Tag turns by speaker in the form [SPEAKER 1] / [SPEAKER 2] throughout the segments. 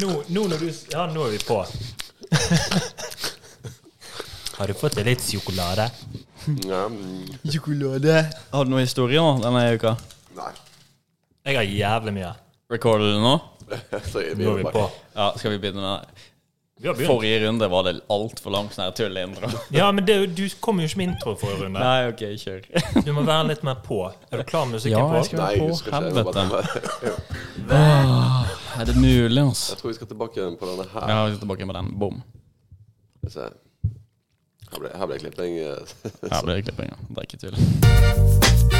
[SPEAKER 1] Nå, nå når du s- Ja, nå er vi på. Har du fått deg litt sjokolade?
[SPEAKER 2] Ja, mm,
[SPEAKER 3] Jokolade. Har du noen historier nå denne uka?
[SPEAKER 2] nei.
[SPEAKER 1] Jeg har jævlig mye.
[SPEAKER 3] Recorder du nå?
[SPEAKER 2] Så er Altså, vi
[SPEAKER 1] Nå er vi på.
[SPEAKER 2] bare
[SPEAKER 3] Ja, skal vi begynne med det?
[SPEAKER 1] Vi har begynt.
[SPEAKER 3] Forrige runde var det altfor lang sånn her tulleintro.
[SPEAKER 1] Ja, men det, du kom jo ikke med intro forrige runde.
[SPEAKER 3] Nei, OK, kjør.
[SPEAKER 1] Du må være litt mer på. Er du klar med musikken
[SPEAKER 3] Ja,
[SPEAKER 1] på?
[SPEAKER 3] jeg skal-
[SPEAKER 2] Nei, jeg
[SPEAKER 3] På
[SPEAKER 2] husker ikke. Jeg, var bare,
[SPEAKER 3] Er det mulig, altså?
[SPEAKER 2] jeg tror vi skal tilbake på denne her.
[SPEAKER 3] Ja, vi er tilbake med den. Bom.
[SPEAKER 2] Skal vi se. Her ble, her ble klipping. eh,
[SPEAKER 3] Her blir det klipping. ja. Det er ikke tull.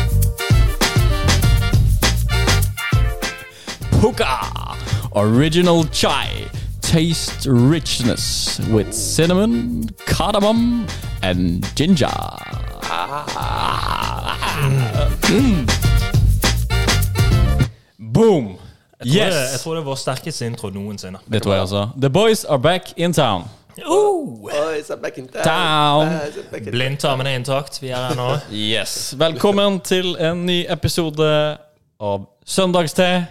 [SPEAKER 3] Puka! Original chai. Taste richness with cinnamon, cardamom and ginger. Ah. Mm. Boom!
[SPEAKER 1] Jeg tror det- Jeg
[SPEAKER 3] Yes!
[SPEAKER 1] tror det er vår sterkeste intro noensinne.
[SPEAKER 3] Det tror jeg altså. The boys are back in town.
[SPEAKER 1] Oh!
[SPEAKER 2] Oi, it's a back in town.
[SPEAKER 3] Town.
[SPEAKER 2] Ah, it's a back in-
[SPEAKER 1] Blindtarmen er intakt. Vi er her nå.
[SPEAKER 3] Yes. Velkommen til en ny episode av Søndagste.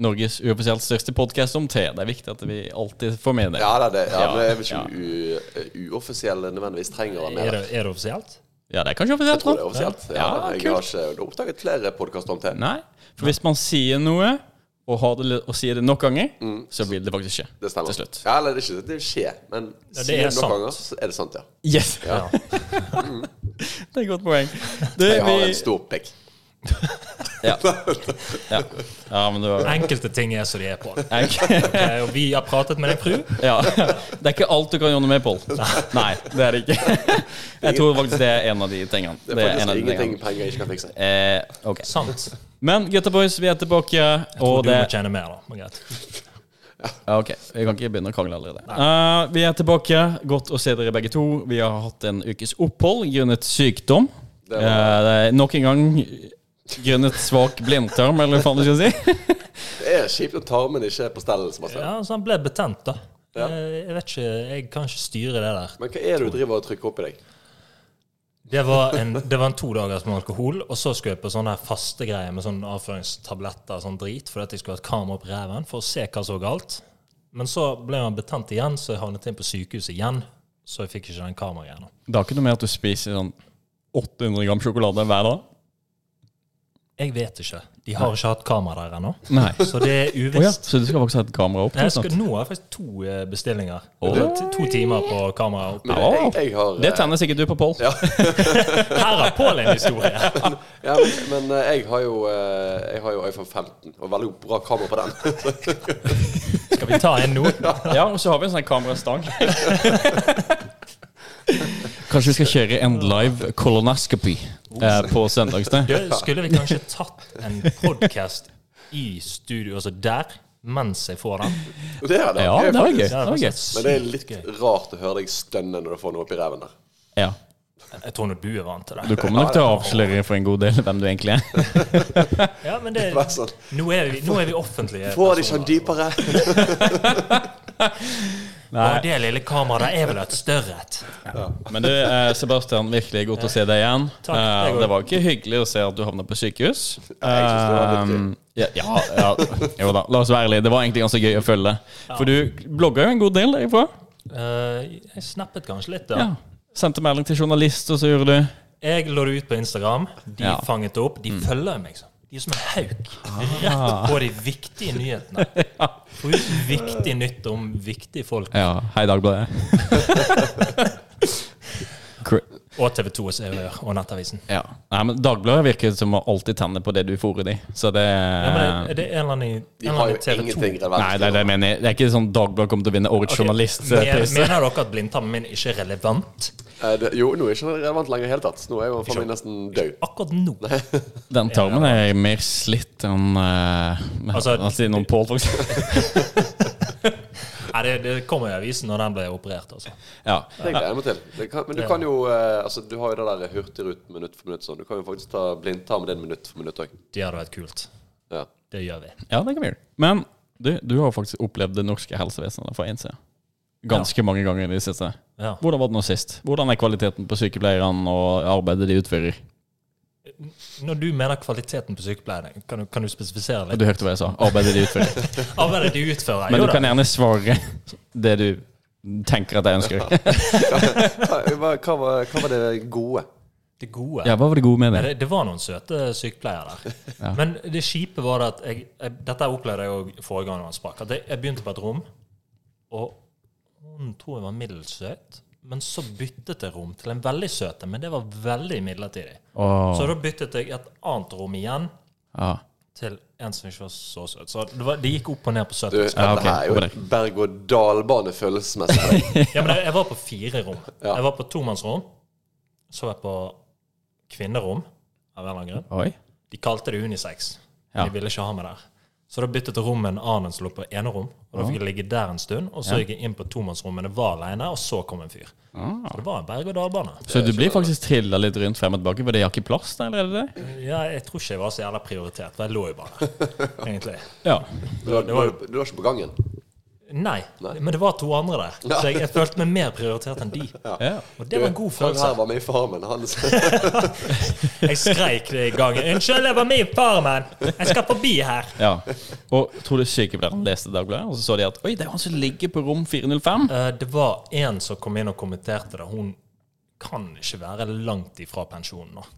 [SPEAKER 3] Norges uoffisielt største podkast om te. Det er viktig at vi alltid får med det.
[SPEAKER 2] Ja, det er det. Ja,
[SPEAKER 3] Ja,
[SPEAKER 2] men jeg vet ikke om u- uoffisielle nødvendigvis trenger å være med.
[SPEAKER 1] Er
[SPEAKER 2] der.
[SPEAKER 1] det, er det offisielt?
[SPEAKER 3] Ja, det er kanskje offisielt?
[SPEAKER 2] Jeg tror det er
[SPEAKER 3] da?
[SPEAKER 2] offisielt. Ja,
[SPEAKER 3] Ja,
[SPEAKER 2] jeg har
[SPEAKER 3] kult.
[SPEAKER 2] ikke oppdaget flere podkaster om det.
[SPEAKER 3] Nei. For hvis man sier noe, og, har det, litt- og sier det nok ganger, så vil det faktisk skje.
[SPEAKER 2] Mm. Det stemmer.
[SPEAKER 3] Til slutt.
[SPEAKER 2] Ja, eller det er ikke det skjer, men
[SPEAKER 1] Ja, det
[SPEAKER 2] sier
[SPEAKER 1] er
[SPEAKER 2] du
[SPEAKER 1] sant.
[SPEAKER 2] noen ganger, så er det sant, ja.
[SPEAKER 3] Yes!
[SPEAKER 1] Ja.
[SPEAKER 3] Det er et godt poeng. Du,
[SPEAKER 2] Jeg har
[SPEAKER 3] vi-
[SPEAKER 2] en stor pikk.
[SPEAKER 3] ja. Ja. ja, men det var
[SPEAKER 1] Enkelte ting er som de er på.
[SPEAKER 3] Jeg-
[SPEAKER 1] Ok, og vi har pratet med din fru.
[SPEAKER 3] Ja, Det er ikke alt du kan gjøre noe med, Pål. Nei, det er det ikke. Jeg tror faktisk det er en av de tingene.
[SPEAKER 2] Det er
[SPEAKER 3] en av
[SPEAKER 2] faktisk
[SPEAKER 3] de
[SPEAKER 2] ingenting
[SPEAKER 3] tingene.
[SPEAKER 2] penger ikke kan fikse.
[SPEAKER 3] Eh, ok.
[SPEAKER 1] Sant.
[SPEAKER 3] Men gutta boys, vi er tilbake.
[SPEAKER 1] Og
[SPEAKER 3] Og
[SPEAKER 1] du må
[SPEAKER 3] det
[SPEAKER 1] tjene mer, da. Men greit.
[SPEAKER 3] Ja, Ok, vi kan ikke begynne å krangle allerede. Eh, vi er tilbake. Godt å se dere begge to. Vi har hatt en ukes opphold grunnet sykdom. Eh,
[SPEAKER 2] Det
[SPEAKER 3] Det
[SPEAKER 2] var-
[SPEAKER 3] er nok en gang grunnet svak blindtarm, eller hva faen du skal si.
[SPEAKER 2] Det er kjipt når tarmen ikke er på stell. Sebastian.
[SPEAKER 1] Ja, så han ble betent, da.
[SPEAKER 2] Ja.
[SPEAKER 1] Eh, Jeg vet ikke, jeg kan ikke styre det der.
[SPEAKER 2] Men hva er det du driver og trykker opp i deg?
[SPEAKER 1] Det var en, det var en to dagers med alkohol, og så skulle jeg på sånne her faste greier med sånne avføringstabletter og sånn drit, fordi at jeg skulle ha et kamera opp reven for å se hva som var galt. Men så ble han betent igjen, så jeg havnet inn på sykehuset igjen. Så jeg fikk ikke den kameragreia.
[SPEAKER 3] Det har ikke noe med at du spiser sånn 800 gram sjokolade hver dag?
[SPEAKER 1] Jeg vet ikke. De har ikke hatt kamera der ennå,
[SPEAKER 3] Nei.
[SPEAKER 1] så det er
[SPEAKER 3] Å ja,
[SPEAKER 1] uvisst.
[SPEAKER 3] så du skal faktisk ha et kamera opp?
[SPEAKER 1] Nei,
[SPEAKER 3] nå
[SPEAKER 1] Jeg skal,
[SPEAKER 3] snart?
[SPEAKER 1] nå har jeg faktisk to eh, bestillinger. To, to timer på kamera. opp.
[SPEAKER 2] Men
[SPEAKER 3] Ja.
[SPEAKER 2] jeg, jeg har
[SPEAKER 3] Det tenner sikkert du på, Pål.
[SPEAKER 2] Ja.
[SPEAKER 1] Her har Pål en historie!
[SPEAKER 2] Ja, men, men eh, jeg har jo eh, Jeg har jo iPhone 15, og veldig bra kamera på den.
[SPEAKER 1] Skal vi ta en nå?
[SPEAKER 3] Ja, og så har vi en sånn kamerastang. Kanskje vi skal kjøre en live colonoscopy eh, på søndagene?
[SPEAKER 1] Du, skulle vi kanskje tatt en podcast i studio, altså der, mens jeg får den?
[SPEAKER 2] Og det er det.
[SPEAKER 3] Ja,
[SPEAKER 2] Jeg er
[SPEAKER 3] det var
[SPEAKER 2] faktisk-
[SPEAKER 1] Det hadde
[SPEAKER 3] gøy. Det var gøy.
[SPEAKER 1] vært
[SPEAKER 2] Men det er
[SPEAKER 1] sykt
[SPEAKER 2] litt
[SPEAKER 1] gøy.
[SPEAKER 2] rart å høre deg stønne når du får noe opp i reven der.
[SPEAKER 3] Ja.
[SPEAKER 1] Jeg tror nok du er vant til
[SPEAKER 3] Du
[SPEAKER 1] det.
[SPEAKER 3] kommer nok til å avsløre for en god del hvem du egentlig er.
[SPEAKER 1] Ja, men det,
[SPEAKER 2] Vær sånn.
[SPEAKER 1] nå, er vi, nå er vi offentlige. altså.
[SPEAKER 2] Får det ikke han
[SPEAKER 1] personer.
[SPEAKER 2] dypere?
[SPEAKER 1] Og det lille kameraet der er vel et større et.
[SPEAKER 3] Men du, eh, Sebastian, virkelig godt å se deg igjen.
[SPEAKER 1] Takk,
[SPEAKER 3] Eh,
[SPEAKER 1] det går.
[SPEAKER 3] Det var ikke hyggelig å se at du havna på sykehus.
[SPEAKER 2] jeg synes det var litt
[SPEAKER 3] Um, ja, ja, ja, jo da, la oss være ærlige. Det var egentlig ganske gøy å følge. For du blogga jo en god del derifra.
[SPEAKER 1] Eh, jeg snappet kanskje litt,
[SPEAKER 3] Ja.
[SPEAKER 1] da.
[SPEAKER 3] Sendte melding til journalist, og så gjorde du
[SPEAKER 1] Jeg lå det ut på Instagram. De
[SPEAKER 3] Ja.
[SPEAKER 1] fanget det opp.
[SPEAKER 2] Mm.
[SPEAKER 1] De følger meg sånn. De er som en hauk.
[SPEAKER 2] Ah.
[SPEAKER 1] Rett på de viktige nyhetene. Få ut viktig nytt om viktige folk.
[SPEAKER 3] Ja, hei Dagbladet. Cr-
[SPEAKER 1] Og TV 2 og CVR og Nettavisen.
[SPEAKER 3] ja. Nei, men Dagbladet virker som å alltid tenne på det du fôrer de. Så det
[SPEAKER 1] Ja, men er det en eller annen i- en
[SPEAKER 2] Eh. De
[SPEAKER 1] eller
[SPEAKER 2] har
[SPEAKER 1] annen i
[SPEAKER 2] jo
[SPEAKER 1] TV 2?
[SPEAKER 2] ingenting relevant.
[SPEAKER 3] Nei, det er det jeg mener. Det er ikke sånn Dagbladet kommer til å vinne Årets eh,
[SPEAKER 1] Ok, men-
[SPEAKER 3] journalistpris.
[SPEAKER 1] Mener dere at blindtarmen min ikke er relevant
[SPEAKER 2] Eh, det- Jo, nå er ikke han relevant lenger i det hele tatt. Nå er jo han faen meg nesten død.
[SPEAKER 1] akkurat nå?
[SPEAKER 3] Den tarmen er mer slitt enn uh,
[SPEAKER 1] Altså-
[SPEAKER 3] siden om Pål, faktisk.
[SPEAKER 1] Nei, det, det kommer i avisen når den ble operert, altså.
[SPEAKER 3] Ja.
[SPEAKER 2] Det gleder jeg meg til. Det kan, men du kan jo eh, altså, Du har jo det der hurtigruten minutt for minutt sånn. Du kan jo faktisk ta blindtarmen din minutt for minutt òg.
[SPEAKER 1] Det hadde vært kult.
[SPEAKER 2] Ja.
[SPEAKER 1] Det gjør vi.
[SPEAKER 3] ja, det kan vi gjøre. Men du, du har faktisk opplevd det norske helsevesenet fra innsida. Ganske mange ganger i det siste.
[SPEAKER 1] Ja.
[SPEAKER 3] Hvordan var det nå sist? Hvordan er kvaliteten på sykepleierne og arbeidet de utfører?
[SPEAKER 1] Når du mener kvaliteten på sykepleierne, kan du, kan du spesifisere
[SPEAKER 3] Og
[SPEAKER 1] litt?
[SPEAKER 3] Du hørte hva jeg sa. Arbeidet de utfører.
[SPEAKER 1] Arbeidet de utfører?
[SPEAKER 3] Men
[SPEAKER 1] jo
[SPEAKER 3] du
[SPEAKER 1] da.
[SPEAKER 3] kan gjerne svare det du tenker at jeg ønsker.
[SPEAKER 2] Hva, hva, hva, var- hva var det gode?
[SPEAKER 1] Det gode.
[SPEAKER 3] Ja, Hva var det gode med
[SPEAKER 1] Nei,
[SPEAKER 3] det?
[SPEAKER 1] det, det var noen søte sykepleiere der.
[SPEAKER 3] Ja.
[SPEAKER 1] Men det kjipe var det at jeg, jeg, Dette opplevde jeg òg forrige gang han sprakk. At jeg, jeg begynte på et rom, og hun tror jeg var middels søt. Men så byttet jeg rom til en veldig søt en, men det var veldig midlertidig.
[SPEAKER 3] Åh,
[SPEAKER 1] Så da byttet jeg et annet rom igjen
[SPEAKER 3] ja.
[SPEAKER 1] til en som ikke var så søt. Så det, var, det gikk opp og ned på
[SPEAKER 2] Du,
[SPEAKER 1] søthet.
[SPEAKER 2] dette
[SPEAKER 3] Ja, ok,
[SPEAKER 2] her er jo
[SPEAKER 3] over
[SPEAKER 2] et berg-og-dal-bane følelsesmessig. for deg.
[SPEAKER 1] Ja, men jeg, jeg var på fire rom.
[SPEAKER 2] Ja.
[SPEAKER 1] Jeg var på tomannsrom. Så var jeg på kvinnerom av en eller annen grunn.
[SPEAKER 3] Oi.
[SPEAKER 1] De kalte det unisex.
[SPEAKER 3] Ja.
[SPEAKER 1] De ville ikke ha meg der. Så da byttet rommet en annen som lå på enerom. Og da fikk jeg ligge der en stund. Og så gikk jeg inn på tomannsrommet, det var aleine, og så kom en fyr.
[SPEAKER 3] Ah.
[SPEAKER 1] Så det var en berg-og-dal-bane.
[SPEAKER 3] Så du blir faktisk trilla litt rundt frem og tilbake, for det har ikke plass der? eller er det det?
[SPEAKER 1] Ja, jeg tror ikke jeg var så jævla prioritert, for jeg lå jo bare der, egentlig.
[SPEAKER 3] Ja.
[SPEAKER 2] Du, var- du, var- du var ikke på gangen?
[SPEAKER 1] Nei, men det var to andre der, så jeg, jeg følte meg mer prioritert enn de.
[SPEAKER 3] ja.
[SPEAKER 1] Og det var en god
[SPEAKER 2] Han
[SPEAKER 1] følelse.
[SPEAKER 2] her var med i Farmen. Han
[SPEAKER 1] Jeg skreik det i gangen. 'Unnskyld, jeg var med i Farmen! Jeg skal forbi her!'
[SPEAKER 3] ja. Og tror du sykepleieren leste Dagbladet, og så så de at Oi, det er han som ligger på rom 405?
[SPEAKER 1] Eh, Det var en som kom inn og kommenterte det. Hun kan ikke være langt ifra pensjonen nå.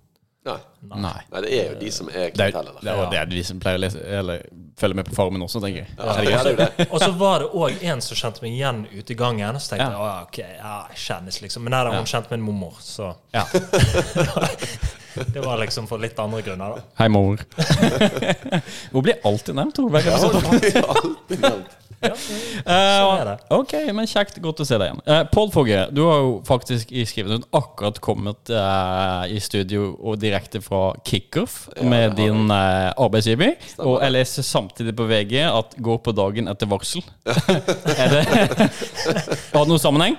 [SPEAKER 2] Nei.
[SPEAKER 3] Nei.
[SPEAKER 2] Nei, det er jo de som er
[SPEAKER 3] Det er,
[SPEAKER 2] kriminelle
[SPEAKER 3] det
[SPEAKER 2] der.
[SPEAKER 3] er jo det de som pleier å lese, eller følge med på Farmen også, tenker jeg.
[SPEAKER 2] Ja, det er jo det.
[SPEAKER 1] Og så var det òg en som kjente meg igjen ute i gangen. Så tenkte jeg «Å, ja, ok, ja, jeg kjennes liksom. Men nei, da, hun kjente min mormor, så
[SPEAKER 3] Ja.
[SPEAKER 1] det var liksom for litt andre grunner, da.
[SPEAKER 3] Hei, mor. Hun blir alltid nevnt, hun. Hver gang jeg
[SPEAKER 2] Ja, det er alltid nevnt.
[SPEAKER 1] Sånn er det.
[SPEAKER 3] Ok, men kjekt. Godt å se deg igjen. Eh, Pål Fogge, du har jo faktisk i skrivende stund akkurat kommet eh, i studio og direkte fra kickoff med din eh, arbeidsgiver. Og jeg leser samtidig på VG at 'går på dagen etter varsel'. er det Har det noen sammenheng?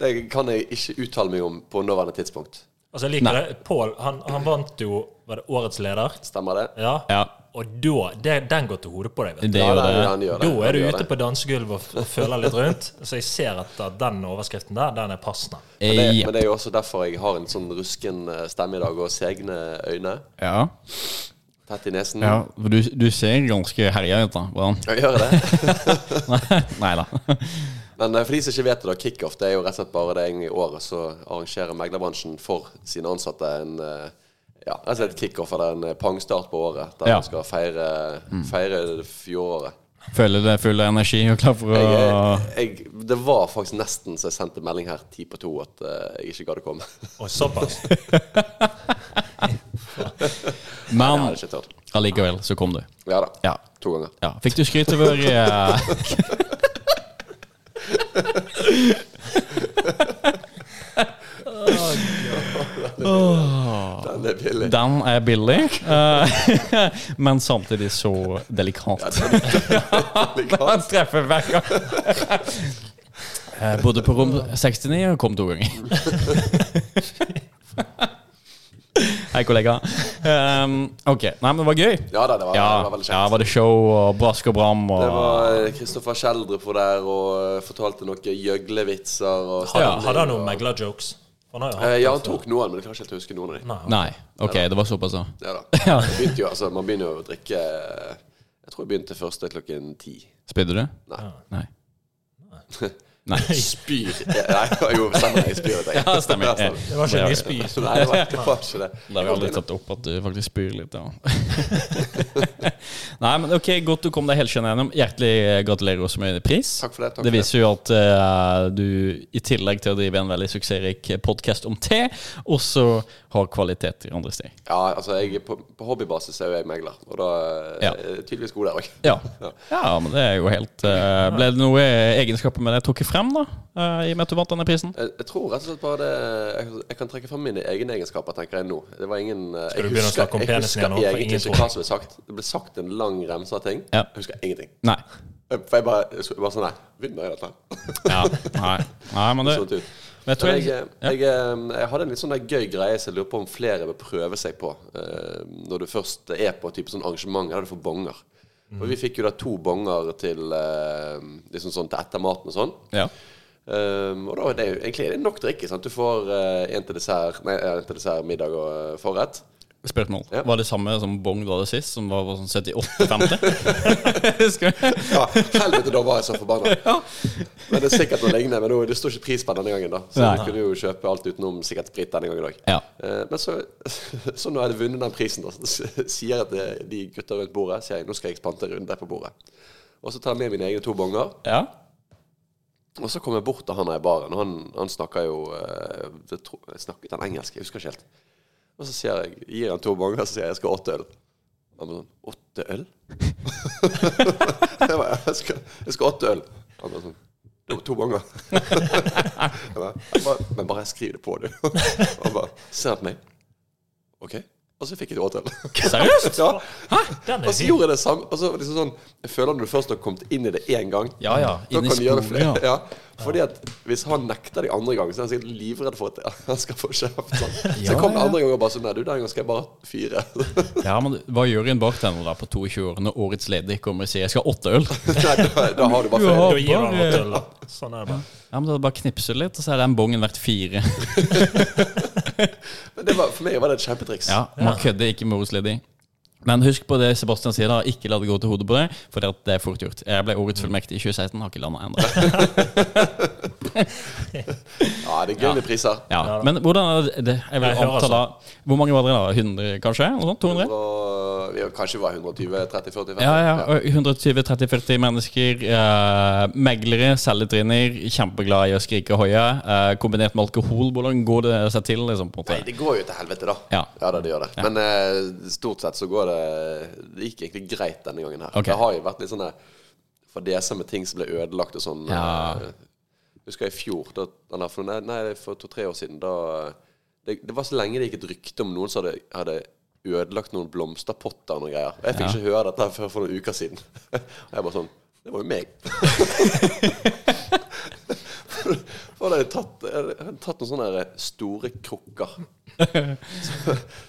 [SPEAKER 2] Det kan jeg ikke uttale meg om på nåværende tidspunkt.
[SPEAKER 1] Altså, jeg liker det. Pål, han, han vant jo Var det årets leder?
[SPEAKER 2] Stemmer det?
[SPEAKER 1] Ja.
[SPEAKER 3] Ja,
[SPEAKER 1] Og da det, Den går til hodet på deg. vet du.
[SPEAKER 3] det gjør det.
[SPEAKER 2] han gjør det.
[SPEAKER 1] Da er du
[SPEAKER 2] Han gjør
[SPEAKER 1] ute
[SPEAKER 2] det.
[SPEAKER 1] på dansegulvet og f- og føler litt rundt. Så jeg ser at da, den overskriften der, den er passende.
[SPEAKER 2] Men det,
[SPEAKER 3] Eh,
[SPEAKER 2] men det er jo også derfor jeg har en sånn rusken eh, stemme i dag, og segne øyne.
[SPEAKER 3] Ja,
[SPEAKER 2] Tett i nesen.
[SPEAKER 3] ja. for Du, du ser ganske herja ut, da. Hvordan?
[SPEAKER 2] Jeg gjør det.
[SPEAKER 3] Nei da.
[SPEAKER 2] Men eh, for de som ikke vet det, da, kickoff det er jo rett og slett bare det en gang i året så arrangerer meglerbransjen for sine ansatte en eh, ja, rett og slett kickoff eller en eh, pangstart på året, der
[SPEAKER 3] Ja. Mm.
[SPEAKER 2] man skal feire, feire fjoråret.
[SPEAKER 3] Føler deg full av energi og klar for å
[SPEAKER 2] Jeg, eh, jeg, det var faktisk nesten så jeg sendte melding her ti på to at eh, jeg ikke gadd å komme.
[SPEAKER 1] Og såpass.
[SPEAKER 2] Jeg
[SPEAKER 3] Men
[SPEAKER 2] hadde ikke tørt.
[SPEAKER 3] allikevel så kom du.
[SPEAKER 2] Ja da.
[SPEAKER 3] Ja.
[SPEAKER 2] To ganger.
[SPEAKER 3] Ja, fikk du skryt over eh,
[SPEAKER 2] Den er billig.
[SPEAKER 3] Den er billig, eh, men samtidig så delikat. Den treffer hver gang. Jeg bodde på rom 69 og kom to ganger. Hei, kollega. Um, ok, nei, men det var gøy.
[SPEAKER 2] Ja da, det var,
[SPEAKER 3] Ja,
[SPEAKER 2] det var veldig
[SPEAKER 3] ja,
[SPEAKER 2] kjekt.
[SPEAKER 3] var det show og brask og bram og
[SPEAKER 2] Det var Kristoffer Kjeldrup var der og eh, fortalte noen gjøglevitser. Og
[SPEAKER 1] Hadde,
[SPEAKER 2] stemning
[SPEAKER 1] hadde han noen
[SPEAKER 2] og-
[SPEAKER 1] meglerjokes? Han har jo
[SPEAKER 2] Eh,
[SPEAKER 1] hatt
[SPEAKER 2] Ja, han tok noen, men jeg klarer ikke helt å huske noen av dem.
[SPEAKER 1] Nei.
[SPEAKER 3] Nei, ok, det var såpass, da.
[SPEAKER 2] Ja, da.
[SPEAKER 3] Ja.
[SPEAKER 2] Jeg begynte jo, altså, man begynner jo å drikke eh, Jeg tror jeg begynte første klokken ti.
[SPEAKER 3] Spydde du?
[SPEAKER 2] Nei.
[SPEAKER 3] Nei. Nei.
[SPEAKER 2] Spyr eh, Nei, jo, stemmer. Jeg spyr. tenkte jeg.
[SPEAKER 3] Ja, stemmer.
[SPEAKER 2] Ja, sånn.
[SPEAKER 1] Det var ikke
[SPEAKER 3] Det
[SPEAKER 1] en
[SPEAKER 3] var-
[SPEAKER 1] nyspy.
[SPEAKER 2] Nei, det var, det var ikke det.
[SPEAKER 3] Det er jo aldri tatt opp at du faktisk spyr litt. Ja. Nei, men ok, Godt du kom deg helskjønnet gjennom. Hjertelig eh, gratulerer også med pris.
[SPEAKER 2] Takk for det. Takk
[SPEAKER 3] Det
[SPEAKER 2] for det.
[SPEAKER 3] viser jo at eh, du, i tillegg til å drive en veldig suksessrik podkast om te, også har kvalitet i andre steder.
[SPEAKER 2] Ja, altså, jeg, er på, på hobbybasis er jo jeg megler, og da eh,
[SPEAKER 3] Ja.
[SPEAKER 2] er jeg tydeligvis god der òg.
[SPEAKER 3] Ja. ja, men det er jo helt eh, Ble det noen egenskaper med det jeg tok frem, da? eh, I og med at du vant denne prisen?
[SPEAKER 2] Jeg, jeg tror rett og slett bare det Jeg, jeg kan trekke fram mine egne egenskaper, tenker jeg nå. Det var ingen eh,
[SPEAKER 1] du
[SPEAKER 2] Jeg
[SPEAKER 1] begynne å
[SPEAKER 2] husker,
[SPEAKER 1] snakke om
[SPEAKER 2] jeg
[SPEAKER 1] penisen
[SPEAKER 2] husker
[SPEAKER 1] igjen nå, for
[SPEAKER 2] egentlig
[SPEAKER 1] ingen
[SPEAKER 2] ikke
[SPEAKER 1] tror.
[SPEAKER 2] hva som ble sagt. Det ble sagt en lang remse av ting.
[SPEAKER 3] Ja.
[SPEAKER 2] Jeg husker ingenting. Eh,
[SPEAKER 3] Nei.
[SPEAKER 2] For jeg bare, jeg bare sånn Nei, vinner jeg dette?
[SPEAKER 3] Ja, nei. nei, men det
[SPEAKER 2] Sånn ut.
[SPEAKER 3] men jeg tror
[SPEAKER 2] Men
[SPEAKER 3] jeg,
[SPEAKER 2] jeg, jeg, eh, jeg hadde en litt sånn der gøy greie som jeg lurer på om flere bør prøve seg på eh, når du først er på et type sånn arrangement der du får bonger.
[SPEAKER 3] Mm.
[SPEAKER 2] Og vi fikk jo da to bonger til, eh, liksom sånn, til etter maten og sånn.
[SPEAKER 3] ja.
[SPEAKER 2] Um, og da eh, er det jo egentlig er det nok drikke. Sant? Du får én til dessert, nei, en til dessert, middag og eh, forrett.
[SPEAKER 3] spørsmål
[SPEAKER 2] Ja.
[SPEAKER 3] var det samme som Bong du hadde sist, som var, var sånn 78-50. Husker du?
[SPEAKER 2] Ja, helvete, da var jeg så forbanna. Men det er sikkert noe lignende. Men nå- det står ikke pris på denne gangen, da. Så
[SPEAKER 3] Nei.
[SPEAKER 2] du kunne jo kjøpe alt utenom sikkert sprit denne gangen òg.
[SPEAKER 3] Ja.
[SPEAKER 2] Eh, Men så, så når jeg hadde vunnet den prisen, da, så sier jeg til de gutta rundt bordet sier jeg, nå skal jeg spante en runde på bordet. Og så tar jeg med mine egne to bonger.
[SPEAKER 3] ja.
[SPEAKER 2] Og så kom jeg bort til han her i baren, og han, han snakker jo eh, det tro, jeg Snakket han engelsk? Jeg husker ikke helt. Og så sier jeg, gir han to bonger, så sier jeg jeg skal ha åtte øl. Han bare sånn Åtte øl? jeg bare, jeg skal, jeg skal ha åtte øl. Han bare sånn «Det var To bonger. jeg bare, jeg bare, men bare skriv det på, du. han bare Ser han på meg? OK. Og så fikk jeg åtte øl.
[SPEAKER 3] Seriøst?
[SPEAKER 2] ja.
[SPEAKER 1] Den er
[SPEAKER 2] Og så
[SPEAKER 1] fin.
[SPEAKER 2] gjorde jeg det samme. Og så var det liksom sånn, jeg føler når du først har kommet inn i det én gang
[SPEAKER 3] Ja, ja.
[SPEAKER 2] da
[SPEAKER 3] Inn i
[SPEAKER 2] kan du gjøre det flere.
[SPEAKER 3] sporet, ja.
[SPEAKER 2] Ja. Fordi at Hvis han nekter deg andre gang, så er han sikkert livredd for at han skal få kjeft. Sånn. Så jeg kom det andre gang og bare sånn Nei, du, den gangen skal jeg bare fyre.
[SPEAKER 3] ja, men hva gjør en bartender da på 22 år når årets ledig kommer og sier 'jeg skal ha åtte øl'?
[SPEAKER 2] Nei, da, da har du bare
[SPEAKER 3] Ja.
[SPEAKER 2] ferie.
[SPEAKER 1] Da gir han
[SPEAKER 3] Bare-
[SPEAKER 1] åtte øl. da. Sånn er det bare.
[SPEAKER 3] Ja, men da bare knipser du litt, og så er den bongen verdt fire.
[SPEAKER 2] Men det var, for meg var det et kjempetriks.
[SPEAKER 3] Ja, man kødder ikke med årets ledig. Men husk på det Sebastian sier, da. Ikke la det gå til hodet på deg, for det at det er fort gjort. Jeg ble årets fullmektig i 2016, har ikke landa ennå.
[SPEAKER 2] Ja, det er gøy med priser.
[SPEAKER 3] Ja. Men hvordan er det- det Jeg vil
[SPEAKER 1] Jeg hører
[SPEAKER 3] anta da Hvor mange var dere da? 100, kanskje? Noe sånt? 200?
[SPEAKER 2] Og, vi, kanskje vi var 120, 30, 40, 50.
[SPEAKER 3] Ja, ja. og 120-30-40 mennesker. Eh, meglere, selgetrinner, kjempeglad i å skrike hoia. Eh, kombinert med alkohol, hvordan går det seg til? Liksom, på en
[SPEAKER 2] Nei,
[SPEAKER 3] måte?
[SPEAKER 2] det går jo til helvete, da.
[SPEAKER 3] Ja.
[SPEAKER 2] da, det gjør det. Men eh, stort sett så går det Det gikk egentlig greit denne gangen her.
[SPEAKER 3] Ok.
[SPEAKER 2] Det har jo vært litt sånn sånne fadeser med ting som ble ødelagt og sånn.
[SPEAKER 3] Ja.
[SPEAKER 2] eh, husker jeg i fjor, da, eller for, nei, nei, for to-tre år siden, da eh, det, det var så lenge det gikk et rykte om noen som hadde, hadde ødelagt noen blomsterpotter og noen greier. Og jeg fikk ikke høre dette her før for noen uker siden. Og jeg bare sånn Det var jo meg. For da hadde jeg tatt, jeg hadde tatt noen sånne der store krukker. Så,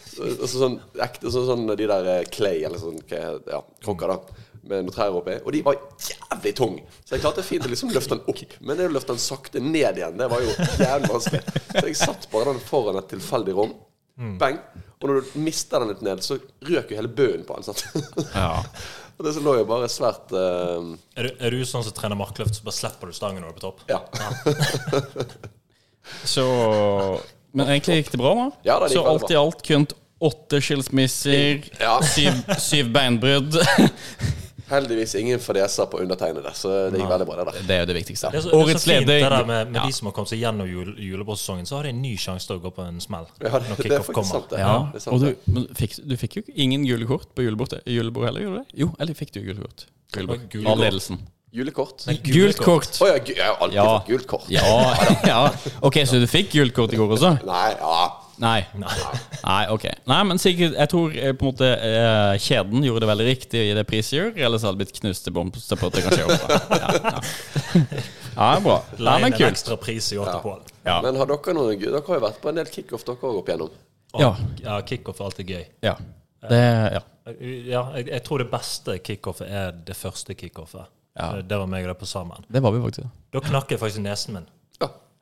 [SPEAKER 2] så, så, sånn ekte sånn, sånn de der eh, clay, eller sånn hva, heter det? ja, krukker, da. Med noen trær oppi. Og de var jævlig tung Så jeg klarte fint å liksom løfte den opp. Men det å løfte den sakte ned igjen, det var jo jævlig vanskelig. Så jeg satt bare den foran et tilfeldig rom.
[SPEAKER 3] Mm.
[SPEAKER 2] Bang. Og når du mister den litt ned, så røk jo hele bøen på den. Sant?
[SPEAKER 3] Ja.
[SPEAKER 2] Og det så lå jo bare svært eh,
[SPEAKER 1] Er du, er du sånn som trener markløft, så bare slipper du stangen når du er på topp?
[SPEAKER 2] Ja.
[SPEAKER 3] Så Men egentlig gikk det bra, da.
[SPEAKER 2] Ja, det gikk
[SPEAKER 3] så
[SPEAKER 2] veldig
[SPEAKER 3] alt i alt kun åtte skilsmisser,
[SPEAKER 2] Ja.
[SPEAKER 3] syv, syv beinbrudd.
[SPEAKER 2] Heldigvis ingen fadeser på undertegnede, så det gikk veldig bra, det der.
[SPEAKER 3] Det er jo det viktigste.
[SPEAKER 1] Det er så, det er
[SPEAKER 3] Årets
[SPEAKER 1] så fint det
[SPEAKER 3] leder.
[SPEAKER 1] der med, med
[SPEAKER 3] Ja.
[SPEAKER 1] de som har kommet seg gjennom jul, julebåtsesongen, så har de en ny sjanse til å gå på en smell
[SPEAKER 2] Ja,
[SPEAKER 1] når
[SPEAKER 2] det, det er
[SPEAKER 1] kickoff
[SPEAKER 2] faktisk
[SPEAKER 1] kommer.
[SPEAKER 2] sant, det.
[SPEAKER 3] Ja,
[SPEAKER 2] det er sant,
[SPEAKER 3] og du,
[SPEAKER 2] det.
[SPEAKER 3] men fikk, du fikk jo ingen julekort på julebordet, julebordet heller, gjorde du det? Jo, eller fikk du julekort? Julebord.
[SPEAKER 1] Gule
[SPEAKER 3] Av
[SPEAKER 1] kort.
[SPEAKER 3] ledelsen.
[SPEAKER 2] Julekort? Å
[SPEAKER 3] Gult kort.
[SPEAKER 2] ja, gu- jeg har alltid
[SPEAKER 3] Ja.
[SPEAKER 2] fått gult kort.
[SPEAKER 3] Ja, ja. Ok, så du fikk gult kort i går også?
[SPEAKER 2] Nei, ja.
[SPEAKER 3] Nei. Nei, ok. Nei, men sikkert, jeg tror eh, på en måte eh, kjeden gjorde det veldig riktig i det priset gjør, ellers hadde det blitt knust til bomster på at det kanskje også. Ja, ja. ja, bra. Nei,
[SPEAKER 1] Leien
[SPEAKER 3] men
[SPEAKER 1] en
[SPEAKER 3] kult.
[SPEAKER 1] ekstra pris i år til Pål.
[SPEAKER 3] Ja.
[SPEAKER 2] Men har dere noen gu- Dere har jo vært på en del kickoff dere òg opp igjennom.
[SPEAKER 1] Og-
[SPEAKER 3] Ja.
[SPEAKER 1] Ja, kickoff er alltid gøy.
[SPEAKER 3] Ja. Det, ja.
[SPEAKER 1] Ja, jeg, jeg tror det beste kickoffet er det første kickoffet.
[SPEAKER 3] Ja.
[SPEAKER 1] Det var meg og det på sammen.
[SPEAKER 3] det var vi faktisk.
[SPEAKER 1] Da knakk jeg faktisk nesen min.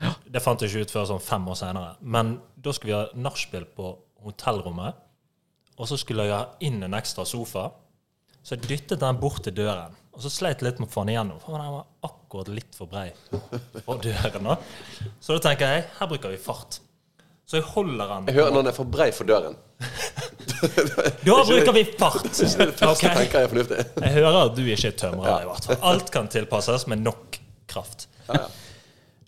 [SPEAKER 2] Ja.
[SPEAKER 1] Det fant jeg ikke ut før sånn fem år senere. Men da skulle vi ha nachspiel på hotellrommet. Og så skulle jeg ha inn en ekstra sofa. Så jeg dyttet den bort til døren. Og så sleit jeg litt med å få den igjennom. For den var akkurat litt for brei for døren. da. Så da tenker jeg her bruker vi fart. Så jeg holder den.
[SPEAKER 2] Jeg hører noen er for brei for døren.
[SPEAKER 1] Da bruker vi fart!
[SPEAKER 2] Første
[SPEAKER 1] Ok.
[SPEAKER 2] tenker jeg er fornuftig.
[SPEAKER 1] Jeg hører at du ikke er tømrer. i hvert fall. Alt kan tilpasses med nok kraft.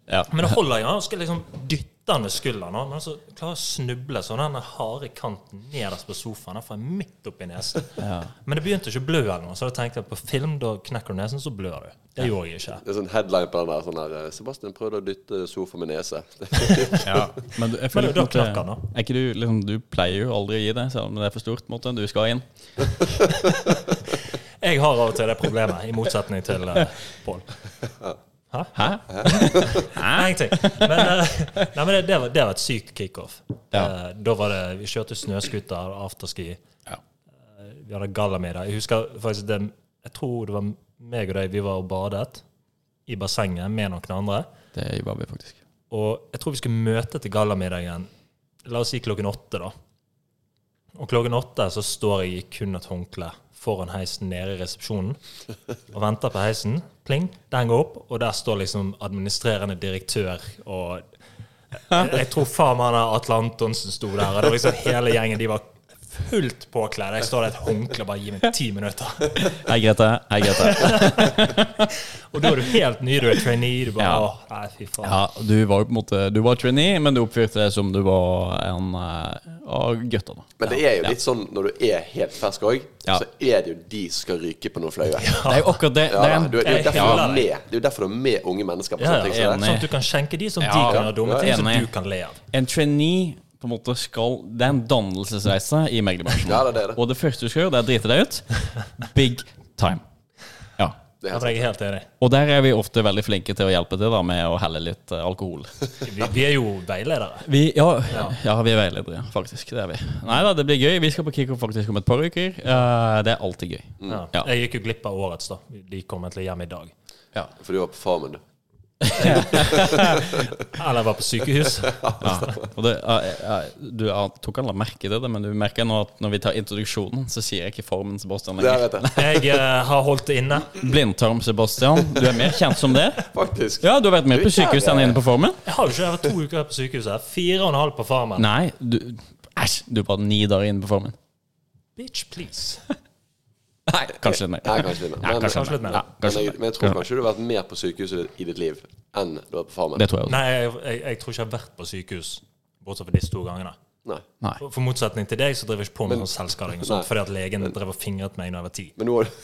[SPEAKER 3] Ja.
[SPEAKER 1] Men det holder jeg, ja, og skal liksom dytte han med skulderen. og- Men så klarer jeg å snuble så den harde kanten nederst på sofaen. Den får jeg midt opp i nesen. Men det begynte ikke å blø, eller noe, så da tenkte jeg på film, da knekker du nesen, så blør du. Det gjorde jeg ikke.
[SPEAKER 2] Det er sånn headline på den der sånn her eh, Sebastian prøvde å dytte sofa med nese.
[SPEAKER 3] Ja, men du- jeg føler
[SPEAKER 1] Men da
[SPEAKER 3] på en måte-
[SPEAKER 1] knakk han, da.
[SPEAKER 3] Er ikke du, liksom, du pleier jo aldri å gi deg, selv om det er for stort. på en Måte. Du skal inn.
[SPEAKER 1] Jeg har av og til det problemet, i motsetning til uh, Pål.
[SPEAKER 3] Hæ?
[SPEAKER 1] Nei, ingenting. Men, eh, nei, men det, det, var, det var et sykt kickoff.
[SPEAKER 3] Ja.
[SPEAKER 1] Eh, da var det Vi kjørte snøscooter og afterski.
[SPEAKER 3] Ja.
[SPEAKER 1] vi hadde gallamiddag. Jeg husker faktisk det Jeg tror det var meg og deg, vi var og badet i bassenget med noen andre.
[SPEAKER 3] Det var vi faktisk.
[SPEAKER 1] Og jeg tror vi skulle møte til gallamiddagen, la oss si klokken åtte, da. Og klokken åtte så står jeg i kun et håndkle foran heisen nede i resepsjonen og venter på heisen. Pling, den går opp, og der står liksom administrerende direktør og Jeg tror faen meg han der Atle Antonsen sto der, og det var liksom hele gjengen. De var fullt påkledd. Jeg står der i et håndkle og bare gir meg ti minutter.
[SPEAKER 3] Hei, Grete. Hei, Grete.
[SPEAKER 1] Og da er du helt ny, du er trainee. Du bare
[SPEAKER 3] Ja.
[SPEAKER 1] åh, nei, fy faen.
[SPEAKER 3] Ja, du var jo på en måte Du var trainee, men du oppførte deg som du var en eh, av gutta, da.
[SPEAKER 2] Men det er jo litt sånn når du er helt fersk òg,
[SPEAKER 3] Ja.
[SPEAKER 2] så er det jo de som skal ryke på noen flaue. Ja,
[SPEAKER 3] Det er jo akkurat det. det er
[SPEAKER 2] da,
[SPEAKER 3] en,
[SPEAKER 2] du, det, er jo
[SPEAKER 1] jeg
[SPEAKER 2] derfor du
[SPEAKER 1] hyller
[SPEAKER 2] er med. det er jo derfor du er med unge mennesker. på
[SPEAKER 1] Ja,
[SPEAKER 2] sånne ting
[SPEAKER 1] ja,
[SPEAKER 2] som det.
[SPEAKER 1] sånn at du kan skjenke de som de
[SPEAKER 3] Ja,
[SPEAKER 1] kan gjøre dumme
[SPEAKER 2] ja,
[SPEAKER 1] ting, som
[SPEAKER 3] enig.
[SPEAKER 1] du kan le av.
[SPEAKER 3] en trainee på en måte skal Det er en dannelsesreise i meglerbransjen.
[SPEAKER 2] Ja, det er det.
[SPEAKER 3] Og det første du skal gjøre, det er å drite deg ut. Big time. Ja.
[SPEAKER 2] Det
[SPEAKER 1] Ja,
[SPEAKER 2] er helt
[SPEAKER 1] for Altså, jeg er helt enig.
[SPEAKER 3] Og der er vi ofte veldig flinke til å hjelpe til da med å helle litt eh, alkohol.
[SPEAKER 1] Vi, vi er jo veiledere.
[SPEAKER 3] Vi, ja, ja. vi er veiledere, faktisk. Det er vi. Nei da, det blir gøy. Vi skal på kickoff faktisk om et par uker. Eh, det er alltid gøy.
[SPEAKER 2] Mm.
[SPEAKER 1] Ja.
[SPEAKER 3] Ja.
[SPEAKER 1] Jeg gikk jo glipp av årets, da. De kom egentlig hjem i dag.
[SPEAKER 3] Ja.
[SPEAKER 2] sant. For du var på Farmen, du.
[SPEAKER 1] Eller var på sykehus.
[SPEAKER 3] Ja. Og det, eh, eh, du eh, tok aldri merke til det, men du merker nå at når vi tar introduksjonen, så sier jeg ikke formen Sebastian
[SPEAKER 2] Det
[SPEAKER 3] lenger.
[SPEAKER 2] vet jeg.
[SPEAKER 1] Jeg eh, har holdt det inne.
[SPEAKER 3] Blindtarm Sebastian. Du er mer kjent som det.
[SPEAKER 2] Faktisk.
[SPEAKER 3] Ja, du har vært med på sykehus enn inne på formen.
[SPEAKER 1] Jeg har jo ikke vært to uker her på sykehuset. Fire og en halv på farmen.
[SPEAKER 3] Nei, du Æsj, du var ni dager inne på formen.
[SPEAKER 1] Bitch, please.
[SPEAKER 3] Nei, kanskje litt mer.
[SPEAKER 2] Nei, kanskje litt mer.
[SPEAKER 3] Ja,
[SPEAKER 2] Men-
[SPEAKER 3] kanskje
[SPEAKER 1] Kanskje litt mer.
[SPEAKER 3] Ja,
[SPEAKER 2] Men
[SPEAKER 3] kanskje
[SPEAKER 2] jeg,
[SPEAKER 3] litt mer.
[SPEAKER 2] men jeg tror kanskje du har vært mer på sykehuset i ditt liv enn du har på Farmen.
[SPEAKER 3] Det tror jeg også.
[SPEAKER 1] Nei, jeg, jeg, jeg tror ikke jeg har vært på sykehus, bortsett fra disse to gangene.
[SPEAKER 2] Nei.
[SPEAKER 3] Nei.
[SPEAKER 1] For, for motsetning til deg, så driver jeg ikke på med sånn selvskading og sånt,
[SPEAKER 2] Nei.
[SPEAKER 1] fordi at legen drev og fingret meg da jeg var ti.
[SPEAKER 2] Men nå har du,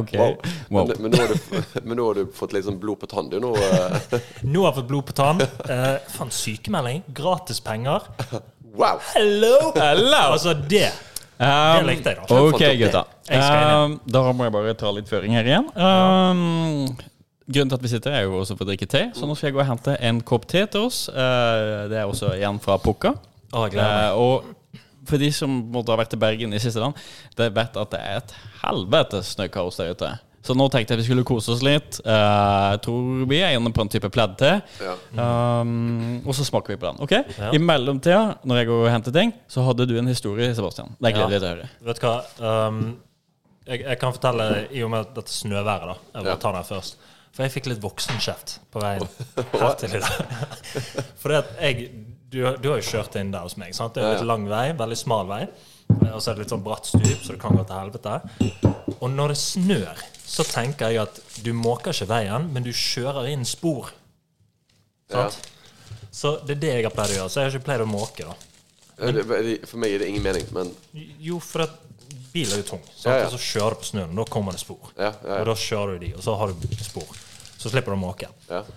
[SPEAKER 3] ok.
[SPEAKER 2] wow.
[SPEAKER 3] Wow.
[SPEAKER 2] Eh, Men, men, nå har du, men nå har du fått litt sånn blod på tann, du nå. eh.
[SPEAKER 1] Nå har jeg fått blod på tann. Eh, Faen, sykemelding. Gratis penger.
[SPEAKER 2] Wow!
[SPEAKER 1] Hello! Altså, det Det
[SPEAKER 3] Um,
[SPEAKER 1] likte jeg, da.
[SPEAKER 3] ok,
[SPEAKER 2] Fant opp
[SPEAKER 3] gutta.
[SPEAKER 1] Jeg skal
[SPEAKER 3] Um, da må jeg bare ta litt føring her igjen. Um, grunnen til at vi sitter, er jo også for å drikke te, så nå skal jeg gå og hente en kopp te til oss. Uh, det er også igjen fra Pukka.
[SPEAKER 1] Å, jeg gleder meg.
[SPEAKER 3] Eh, og for de som måtte ha vært til Bergen i siste land, det vet at det er et helvetes snøkaos der ute. Så nå tenkte jeg vi skulle kose oss litt. Eh, Jeg tror vi er inne på en type pledd til.
[SPEAKER 2] Ja.
[SPEAKER 3] Um, og så smaker vi på den. ok? I mellomtida, når jeg går og henter ting, så hadde du en historie, Sebastian. Det gleder vi
[SPEAKER 1] Ja.
[SPEAKER 3] til å høre.
[SPEAKER 1] Eh, Vet du hva? ehm, jeg, jeg kan fortelle, i og med at dette snøværet, da Jeg bare
[SPEAKER 2] Ja.
[SPEAKER 1] tar den her først. For jeg fikk litt voksenkjeft på veien her til i dag. For det at jeg du, du har jo kjørt inn der hos meg. sant? Det er jo litt lang vei, veldig smal vei. Og så er det litt sånn bratt stup, så det kan gå til helvete. Og når det snør, så tenker jeg at du måker ikke veien, men du kjører inn spor.
[SPEAKER 2] Ja.
[SPEAKER 1] Sant? Så det er det jeg har pleid å gjøre. Så jeg har ikke pleid å måke, da.
[SPEAKER 2] Det- For meg gir det ingen mening, men
[SPEAKER 1] Jo, for at bil er jo tung. Sant?
[SPEAKER 2] Ja, ja.
[SPEAKER 1] Og så kjører du på snøen, og da kommer det spor.
[SPEAKER 2] Ja, ja, ja.
[SPEAKER 1] Og da kjører du de, og så har du spor. Så slipper du å måke.
[SPEAKER 2] ja.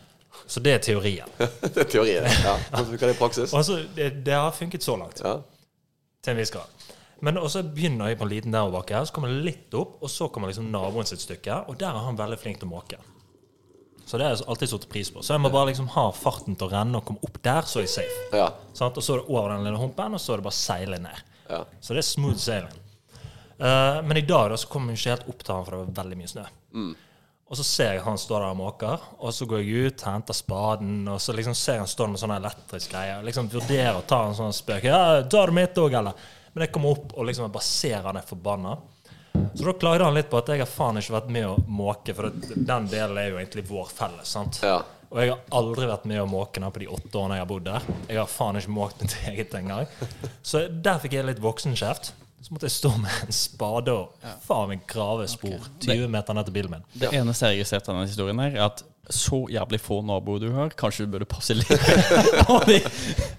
[SPEAKER 1] Så det er teorien.
[SPEAKER 2] Det er teorien. Ja. Hvordan funker det i praksis?
[SPEAKER 1] Og altså, det, det har funket så langt.
[SPEAKER 2] Ja.
[SPEAKER 1] Til en viss grad. Men også begynner jeg på en liten nedoverbakke, her, så kommer det litt opp, og så kommer liksom naboen sitt stykke, og der er han veldig flink til å måke. Så det har jeg alltid satt pris på. Så jeg må bare liksom ha farten til å renne og komme opp der, så er jeg safe.
[SPEAKER 2] ja.
[SPEAKER 1] Sant? Og så er det over den lille humpen, og så er det bare å seile ned.
[SPEAKER 2] ja.
[SPEAKER 1] Så det er smooth sailing. Eh, men i dag da, så kom jeg ikke helt opp til han, for det var veldig mye snø. Og så ser jeg han står der og måker, og så går jeg ut, henter spaden, og så liksom ser jeg han står med sånne elektriske greier. Liksom vurderer å ta en sånn spøk. Ja, tar du mitt òg, eller? Men jeg kommer opp og liksom bare ser han er forbanna. Så da klagde han litt på at jeg har faen ikke vært med å måke, for det, den delen er jo egentlig vår felles, sant?
[SPEAKER 2] Ja.
[SPEAKER 1] Og jeg har aldri vært med å måke nå på de åtte årene jeg har bodd der. Jeg har faen ikke måkt mitt eget engang. Så der fikk jeg litt voksenkjeft. Så måtte jeg stå med en spade og faen meg grave spor 20 meter ned til bilen min.
[SPEAKER 3] Det eneste jeg har registrert av denne historien, her er at så jævlig få naboer du har, kanskje du burde passe litt på de.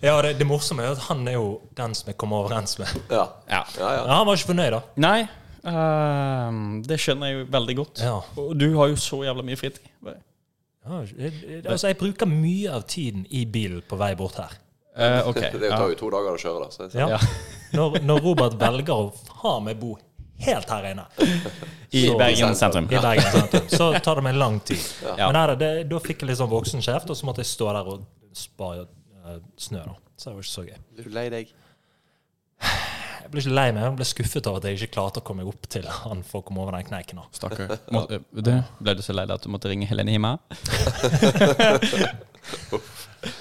[SPEAKER 1] Ja, det, det morsomme er jo at han er jo den som jeg kommer overens med.
[SPEAKER 2] ja.
[SPEAKER 3] Ja.
[SPEAKER 2] ja, ja.
[SPEAKER 1] Ja, han var ikke fornøyd, da.
[SPEAKER 3] Nei, ehm, det skjønner jeg jo veldig godt.
[SPEAKER 1] Ja.
[SPEAKER 3] Og du har jo så jævla mye fritid.
[SPEAKER 1] Ja, jeg- jeg- altså, jeg bruker mye av tiden i bilen på vei bort her.
[SPEAKER 3] Eh, ok.
[SPEAKER 2] Det tar jo to dager å kjøre, da. Så sånn.
[SPEAKER 1] Ja.
[SPEAKER 2] jeg,
[SPEAKER 3] Ja.
[SPEAKER 1] Når, når Robert velger å faen meg bo helt her inne.
[SPEAKER 3] I
[SPEAKER 1] Så-
[SPEAKER 3] Bergen sentrum.
[SPEAKER 1] i Bergen sentrum. Så tar det meg lang tid.
[SPEAKER 3] Ja.
[SPEAKER 1] Men her, er det, da fikk jeg litt sånn voksenkjeft, og så måtte jeg stå der og spare eh, snø. da. Så det var ikke så gøy.
[SPEAKER 2] Blir du lei deg?
[SPEAKER 1] Jeg ble ikke lei meg, jeg ble skuffet over at jeg ikke klarte å komme meg opp til han for å komme over den kneiken. da.
[SPEAKER 3] eh, Stakkar. Må- Du, ble du så lei deg at du måtte ringe Helene Hima?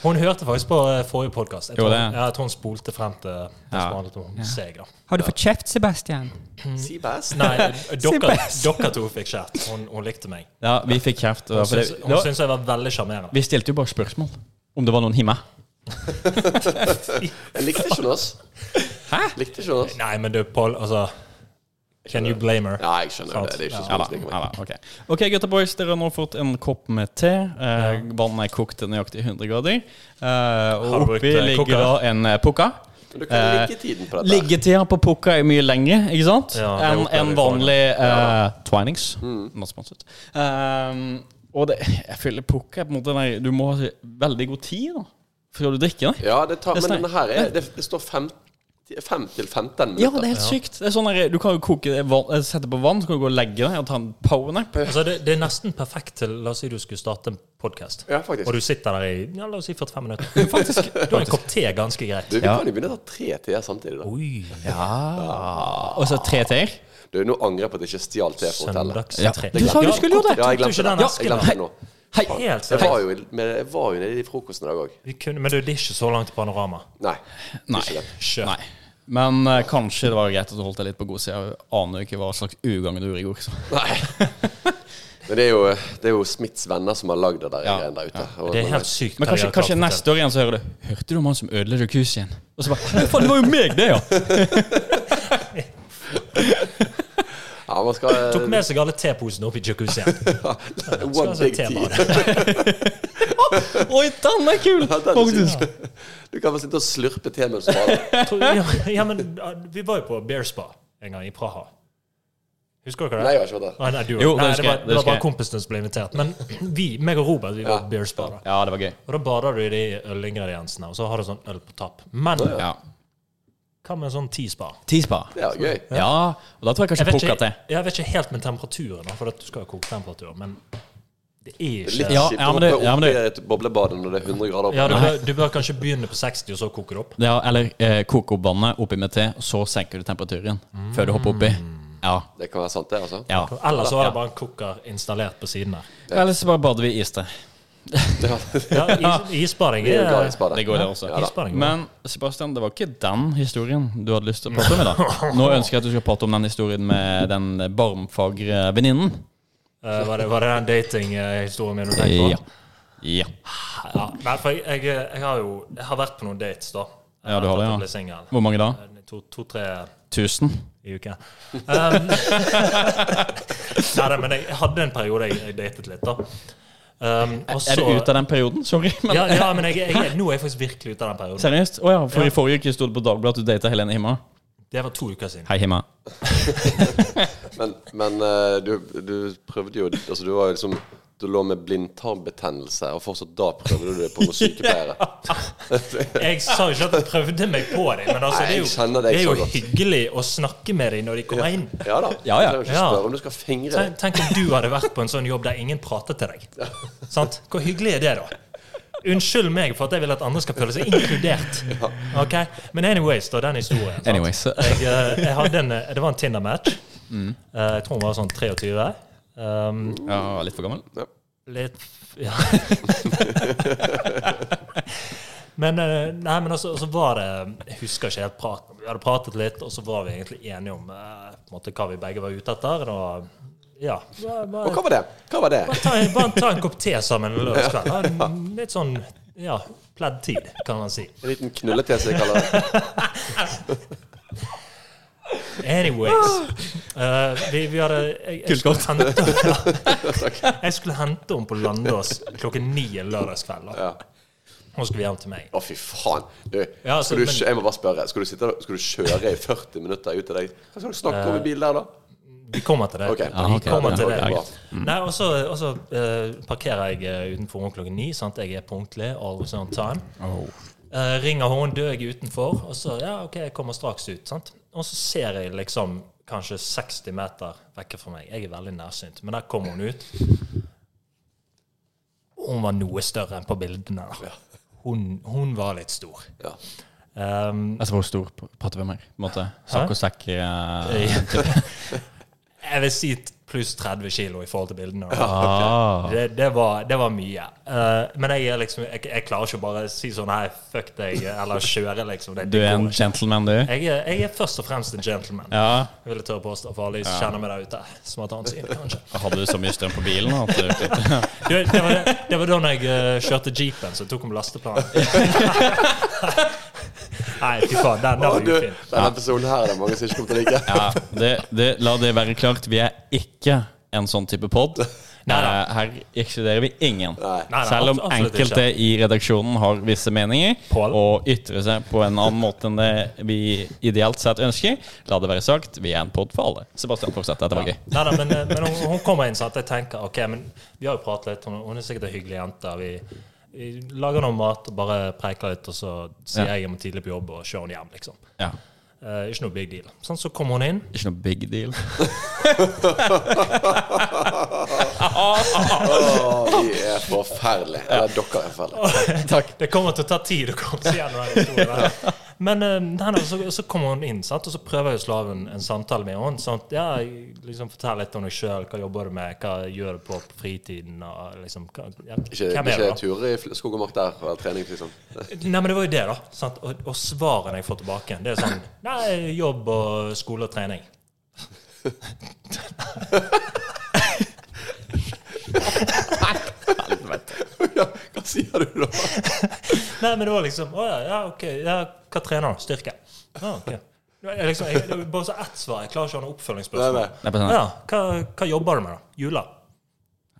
[SPEAKER 1] Hun hørte faktisk på eh, forrige podkast. Jeg,
[SPEAKER 3] Jo,
[SPEAKER 1] tror-
[SPEAKER 3] det.
[SPEAKER 1] ja, jeg tror hun spolte frem til det som
[SPEAKER 3] Ja.
[SPEAKER 1] handlet om seg, da.
[SPEAKER 4] Har du fått kjeft, Sebastian?
[SPEAKER 3] Mm.
[SPEAKER 2] Si best.
[SPEAKER 1] Nei, dere,
[SPEAKER 4] best.
[SPEAKER 1] dere to fikk kjeft. Hun, hun likte meg.
[SPEAKER 3] Ja, vi fikk kjeft.
[SPEAKER 1] Hun
[SPEAKER 3] og- for det-
[SPEAKER 1] syntes
[SPEAKER 3] det
[SPEAKER 1] hun
[SPEAKER 3] var-
[SPEAKER 1] syntes jeg var veldig sjarmerende.
[SPEAKER 3] Vi stilte jo bare spørsmål om det var noen hjemme.
[SPEAKER 2] Jeg likte ikke hun, ass. Hæ? Likte ikke hun, ass.
[SPEAKER 1] Nei, men du, Pål, altså Can you blame her?
[SPEAKER 2] Ja, jeg skjønner jo det. Det er ikke
[SPEAKER 1] Sant.
[SPEAKER 2] så
[SPEAKER 3] Ja da,
[SPEAKER 2] mye som liker
[SPEAKER 3] ja
[SPEAKER 2] meg.
[SPEAKER 3] da, ok. ok, gutta boys, dere har nå fått en kopp med te. Eh, vannet er kokt til nøyaktig 100 grader. Eh,
[SPEAKER 1] Har du
[SPEAKER 3] og
[SPEAKER 1] brukt,
[SPEAKER 3] oppi
[SPEAKER 1] eh,
[SPEAKER 3] ligger
[SPEAKER 1] koka?
[SPEAKER 3] da en eh, pukka.
[SPEAKER 2] Men du kan
[SPEAKER 3] Eh,
[SPEAKER 2] ligge i tiden på dette.
[SPEAKER 3] Liggetida på pukka er mye lengre, ikke sant?
[SPEAKER 1] Ja, det
[SPEAKER 3] Enn
[SPEAKER 1] opplever
[SPEAKER 3] enn
[SPEAKER 1] vi
[SPEAKER 3] vanlig eh, Twinings.
[SPEAKER 2] Mm.
[SPEAKER 3] Not sponsored. Ehm, og det, jeg føler pukka er på en måte den der- Du må ha veldig god tid da før du drikker. Nei.
[SPEAKER 2] Ja, det tar,
[SPEAKER 3] Det er
[SPEAKER 2] men
[SPEAKER 3] snakk.
[SPEAKER 2] denne her er, det, det står 5 til 15 minutter.
[SPEAKER 3] Ja, det er helt sykt. Det er sånn der, du kan jo koke det vann, eh, sette på vann, så kan du gå og legge deg og ta en powernap.
[SPEAKER 1] Altså, det, det er nesten perfekt til La oss si du skulle starte en podkast,
[SPEAKER 2] Ja, faktisk.
[SPEAKER 1] og du sitter der i ja, la oss si 45 minutter. Faktisk, du har en kopp te ganske greit.
[SPEAKER 2] Du, vi kan jo begynne å ta tre teer samtidig. da
[SPEAKER 1] Oi,
[SPEAKER 2] Ah.
[SPEAKER 3] Og så tre teer.
[SPEAKER 2] Du, Nå angrer jeg på at jeg ikke stjal te fra hotellet.
[SPEAKER 1] søndags tre.
[SPEAKER 3] Du sa du skulle gjøre det!
[SPEAKER 2] Ja, jeg
[SPEAKER 1] Tok du
[SPEAKER 2] glemte
[SPEAKER 1] ikke den
[SPEAKER 2] det. Jeg
[SPEAKER 1] esken, da?
[SPEAKER 2] glemte det nå.
[SPEAKER 3] Hei!
[SPEAKER 1] Helt
[SPEAKER 2] Jeg var
[SPEAKER 1] seriøst.
[SPEAKER 2] jo, i- men jeg var jo nede i frokosten i dag òg.
[SPEAKER 1] Vi kunne- Men du, det er ikke så langt til Panorama.
[SPEAKER 2] Nei.
[SPEAKER 3] Nei.
[SPEAKER 2] Ikke det.
[SPEAKER 1] Kjør.
[SPEAKER 3] Nei. Men eh, kanskje det var greit at du holdt deg litt på god side. Jeg aner jo ikke hva slags ugagn du gjorde i går. Så.
[SPEAKER 2] Nei. Men det er jo, det er jo Smiths venner som har lagd det der
[SPEAKER 3] Ja,
[SPEAKER 2] greiene der ute. Og-
[SPEAKER 1] Det er helt sykt.
[SPEAKER 3] Men
[SPEAKER 1] hva de
[SPEAKER 3] kanskje,
[SPEAKER 1] har klart
[SPEAKER 3] kanskje
[SPEAKER 1] å
[SPEAKER 3] neste år igjen så hører du 'Hørte du om han som ødela jacuzzien?' Og så bare «Nei, 'Faen, det var jo meg, det, ja!'
[SPEAKER 2] Ja, man skal
[SPEAKER 1] Tok med seg alle teposene opp i jacuzzien.
[SPEAKER 2] One
[SPEAKER 1] altså
[SPEAKER 2] big
[SPEAKER 1] te
[SPEAKER 2] tea.
[SPEAKER 1] bare.
[SPEAKER 3] Oi, den er kul!
[SPEAKER 2] Ja, den er
[SPEAKER 3] Faktisk.
[SPEAKER 2] syk. Du kan bare sitte og slurpe te mens du maler.
[SPEAKER 1] Tror- ja, ja, men ah, vi var jo på Bear Spa en gang i Praha. Husker dere det?
[SPEAKER 2] Nei, jeg har ikke vært der.
[SPEAKER 1] Nei, nei, du,
[SPEAKER 3] Jo, det
[SPEAKER 1] nei,
[SPEAKER 3] husker
[SPEAKER 1] det var,
[SPEAKER 3] jeg, det
[SPEAKER 1] det var
[SPEAKER 3] husker
[SPEAKER 1] bare
[SPEAKER 3] jeg.
[SPEAKER 1] kompisene som ble invitert. Men vi, meg og Robert, vi var på Bear Spa. Da.
[SPEAKER 3] Ja, det var gøy.
[SPEAKER 1] Og da bader du i de ølingrediensene, og så har du sånn øl på tapp. Men
[SPEAKER 3] Ja.
[SPEAKER 1] hva med sånn ti-spa?
[SPEAKER 3] Tispa.
[SPEAKER 2] Det er jo gøy.
[SPEAKER 3] Ja, og da tror
[SPEAKER 1] Jeg,
[SPEAKER 3] jeg kanskje
[SPEAKER 1] vet
[SPEAKER 3] pukka
[SPEAKER 1] ikke-
[SPEAKER 3] til.
[SPEAKER 1] jeg vet ikke helt med temperaturen, da, for at du skal jo koke temperatur, men det er
[SPEAKER 2] Litt
[SPEAKER 1] ikke
[SPEAKER 3] Ja,
[SPEAKER 2] kjipt
[SPEAKER 3] ja,
[SPEAKER 2] å
[SPEAKER 3] men det-
[SPEAKER 2] hoppe
[SPEAKER 3] ja, men
[SPEAKER 2] opp i
[SPEAKER 3] det-
[SPEAKER 2] et boblebad når det er 100 grader oppe.
[SPEAKER 1] ja, du, bør, du bør kanskje begynne på 60, og så koke det opp.
[SPEAKER 3] Ja, eller eh, koke opp vannet oppi med te, og så senker du temperaturen før du hopper oppi. Ja.
[SPEAKER 2] Det kan være sant, det, altså.
[SPEAKER 3] ja.
[SPEAKER 1] Eller så har det bare en koker installert på siden der.
[SPEAKER 3] Eller så bare bader vi i is det.
[SPEAKER 2] Ja,
[SPEAKER 1] Ja, is, isbading
[SPEAKER 2] vi er jo glad i
[SPEAKER 1] er
[SPEAKER 2] spade.
[SPEAKER 3] Det går, det også.
[SPEAKER 2] da.
[SPEAKER 1] Isbading, ja.
[SPEAKER 3] Men Sebastian, det var ikke den historien du hadde lyst til å prate om i dag. Nå ønsker jeg at du skal prate om den historien med den barmfagre venninnen.
[SPEAKER 1] Eh, var, det, var det den datinghistorien min du tenkte på?
[SPEAKER 3] Ja. ja.
[SPEAKER 1] Ja, nei, for jeg, jeg, jeg har jo jeg har vært på noen dates, da.
[SPEAKER 3] Ja, du har det,
[SPEAKER 1] Etter at
[SPEAKER 3] ja.
[SPEAKER 1] jeg ble singel. Eh,
[SPEAKER 3] Hvor mange da?
[SPEAKER 1] To-tre
[SPEAKER 3] Tusen?
[SPEAKER 1] i uken. Um, nei, nei, men jeg hadde en periode jeg, jeg datet litt, da. Um, og så
[SPEAKER 3] Er du ute av den perioden? Sorry. Men,
[SPEAKER 1] ja, ja, men jeg, jeg, nå er jeg faktisk virkelig ute av den perioden.
[SPEAKER 3] Seriøst? Å ja, for
[SPEAKER 1] Ja.
[SPEAKER 3] i forrige uke sto det på Dagbladet at du data Helene Himma.
[SPEAKER 1] Det var to uker siden.
[SPEAKER 3] Hei, Himma.
[SPEAKER 2] Men, men eh, du, du prøvde jo Altså, du var jo liksom Du lå med blindtarmbetennelse, og fortsatt da prøvde du det på noen sykepleiere.
[SPEAKER 1] Jeg sa jo ikke at jeg prøvde meg på deg, men altså, det
[SPEAKER 2] Nei,
[SPEAKER 1] er
[SPEAKER 2] jeg
[SPEAKER 1] jo,
[SPEAKER 2] kjenner deg
[SPEAKER 1] det er
[SPEAKER 2] så
[SPEAKER 1] jo
[SPEAKER 2] godt.
[SPEAKER 1] hyggelig å snakke med dem når de kommer inn.
[SPEAKER 2] Ja da.
[SPEAKER 3] Ja, ja.
[SPEAKER 2] Du trenger ikke
[SPEAKER 1] Ja.
[SPEAKER 2] spørre om du skal fingre
[SPEAKER 1] Tenk, tenk om du hadde vært på en sånn jobb der ingen prater til deg. Sant? Hvor hyggelig er det, da? Unnskyld meg for at jeg vil at andre skal føle seg inkludert. Ok? Men anyways, da, den historien. sant?
[SPEAKER 3] Anyways.
[SPEAKER 1] Jeg, eh, jeg hadde en, eh, det var en Tinder-match. Eh, Jeg tror hun var sånn 23. Um,
[SPEAKER 3] Ja, litt for gammel?
[SPEAKER 1] litt Ja. Men eh, nei, men altså, så var det Jeg husker ikke helt praten. Vi hadde pratet litt, og så var vi egentlig enige om eh, på en måte, hva vi begge var ute etter. Og ja. Hva, hva,
[SPEAKER 2] Og hva var det? Hva var det?
[SPEAKER 1] bare ta, en- bare ta en kopp te sammen en lørdagskveld. Ha en Litt sånn ja, pledd tid, kan man si.
[SPEAKER 2] En liten knullete, som jeg kaller det.
[SPEAKER 1] Anyways. eh, vi, vi hadde jeg, jeg, skulle hente, jeg skulle hente henne på Landås klokken ni en lørdagskveld. da.
[SPEAKER 2] Ja.
[SPEAKER 1] Hun skulle hjem til meg.
[SPEAKER 2] Å, fy faen. Du,
[SPEAKER 1] Ja, altså,
[SPEAKER 2] skal du,
[SPEAKER 1] men-
[SPEAKER 2] kjø- jeg må bare spørre. Skal du, sitte, der- skal du kjøre i 40 minutter ut til deg? Hva skal du snakke
[SPEAKER 1] Eh.
[SPEAKER 2] om i bilen der, da?
[SPEAKER 1] Vi kommer til det.
[SPEAKER 2] Ok.
[SPEAKER 1] Vi
[SPEAKER 3] ok.
[SPEAKER 1] kommer til
[SPEAKER 2] Ja,
[SPEAKER 1] det.
[SPEAKER 2] bra.
[SPEAKER 1] Nei, og så, og så eh, parkerer jeg eh, utenfor henne klokken ni. Sant? Jeg er punktlig. Always on time. Eh, ringer hun, dør jeg utenfor, og så ja, ok, jeg kommer straks ut. sant? Og så ser jeg liksom kanskje 60 meter vekke fra meg. Jeg er veldig nærsynt, men der kom hun ut. Hun var noe større enn på bildene. da. Hun, hun var litt stor.
[SPEAKER 2] Ja.
[SPEAKER 1] Um,
[SPEAKER 3] Altså, hvor stor prater vi om her? På en måte.
[SPEAKER 1] Hæ?
[SPEAKER 3] Sakk og sekk eh,
[SPEAKER 1] jeg vil si pluss 30 kilo i forhold til bildene.
[SPEAKER 3] Ah.
[SPEAKER 1] Det, det, var, det var mye. Eh, men jeg, er liksom, jeg, jeg klarer ikke å bare si sånn Nei, fuck deg, eller kjøre, liksom. Det,
[SPEAKER 3] Du
[SPEAKER 1] det
[SPEAKER 3] er
[SPEAKER 1] går
[SPEAKER 3] en
[SPEAKER 1] ikke.
[SPEAKER 3] gentleman, du.
[SPEAKER 1] jeg, er, jeg er først og fremst en gentleman.
[SPEAKER 3] Ja.
[SPEAKER 1] Jeg ville tørre påstå for alle de som kjenner meg der ute. Som har et annet syn, kanskje.
[SPEAKER 3] Hadde du så mye strøm på bilen at du
[SPEAKER 1] Du, det, var, det var da når jeg eh, kjørte jeepen, så jeg tok om lasteplanen. Nei, fy faen, den, den
[SPEAKER 2] Å,
[SPEAKER 1] var
[SPEAKER 2] du,
[SPEAKER 1] ufin.
[SPEAKER 2] denne episoden her er det mange som ikke kommer til å like.
[SPEAKER 3] Ja, det, det, la det være klart. Vi er ikke en sånn type pod. Eh,
[SPEAKER 1] Neida.
[SPEAKER 3] Her ekskluderer vi ingen.
[SPEAKER 2] Nei.
[SPEAKER 1] Nei, nei,
[SPEAKER 3] Selv om
[SPEAKER 1] abs- absolutt
[SPEAKER 3] enkelte i redaksjonen har visse meninger
[SPEAKER 1] Pål.
[SPEAKER 3] og ytrer seg på en annen måte enn det vi ideelt sett ønsker, la det være sagt, vi er en pod for alle. Sebastian, fortsett. Dette var gøy.
[SPEAKER 1] Nei, nei, men, eh, men hun, hun kommer inn sånn at jeg tenker Ok, men vi har jo pratet litt, hun, hun er sikkert en hyggelig jente. Vi, vi lager noe mat og bare preiker litt, og så sier jeg jeg må tidlig på jobb og kjører henne hjem, liksom.
[SPEAKER 3] Ja.
[SPEAKER 1] Eh, ikke noe big deal. Sånn, så kommer hun inn.
[SPEAKER 3] Ikke noe big deal.
[SPEAKER 2] Ah, Å, vi er forferdelige. Eller dere er forferdelige.
[SPEAKER 3] Takk.
[SPEAKER 1] Det kommer til å ta tid å komme seg gjennom den historien. der. Men eh, nei, nei, så, så kommer hun inn, sant? og så prøver jeg å slå av en, en samtale med henne. Sant? Ja, jeg liksom Fortell litt om deg sjøl. Hva jobber du med? Hva gjør du på på fritiden? Og liksom, hva, ja,
[SPEAKER 2] Ikke,
[SPEAKER 1] hvem er du,
[SPEAKER 2] ikke
[SPEAKER 1] da?
[SPEAKER 2] turer i fl- skog og mark der eller trening, liksom.
[SPEAKER 1] Nei, men det var jo det, da. Sant? Og, og svarene jeg får tilbake, det er sånn Nei, jobb og skole og trening.
[SPEAKER 2] Ja, hva sier du da?
[SPEAKER 1] Nei, men det var liksom Å ja, ja ok. Ja, hva trener du? Styrke. Ja, ok. Det er Liksom, jeg, det er bare så ett svar. Jeg klarer ikke å ha noe oppfølgingsspørsmål.
[SPEAKER 2] Nei, nei.
[SPEAKER 3] Det er bare sånn-
[SPEAKER 1] Ja, hva, hva jobber du med, da? Juler?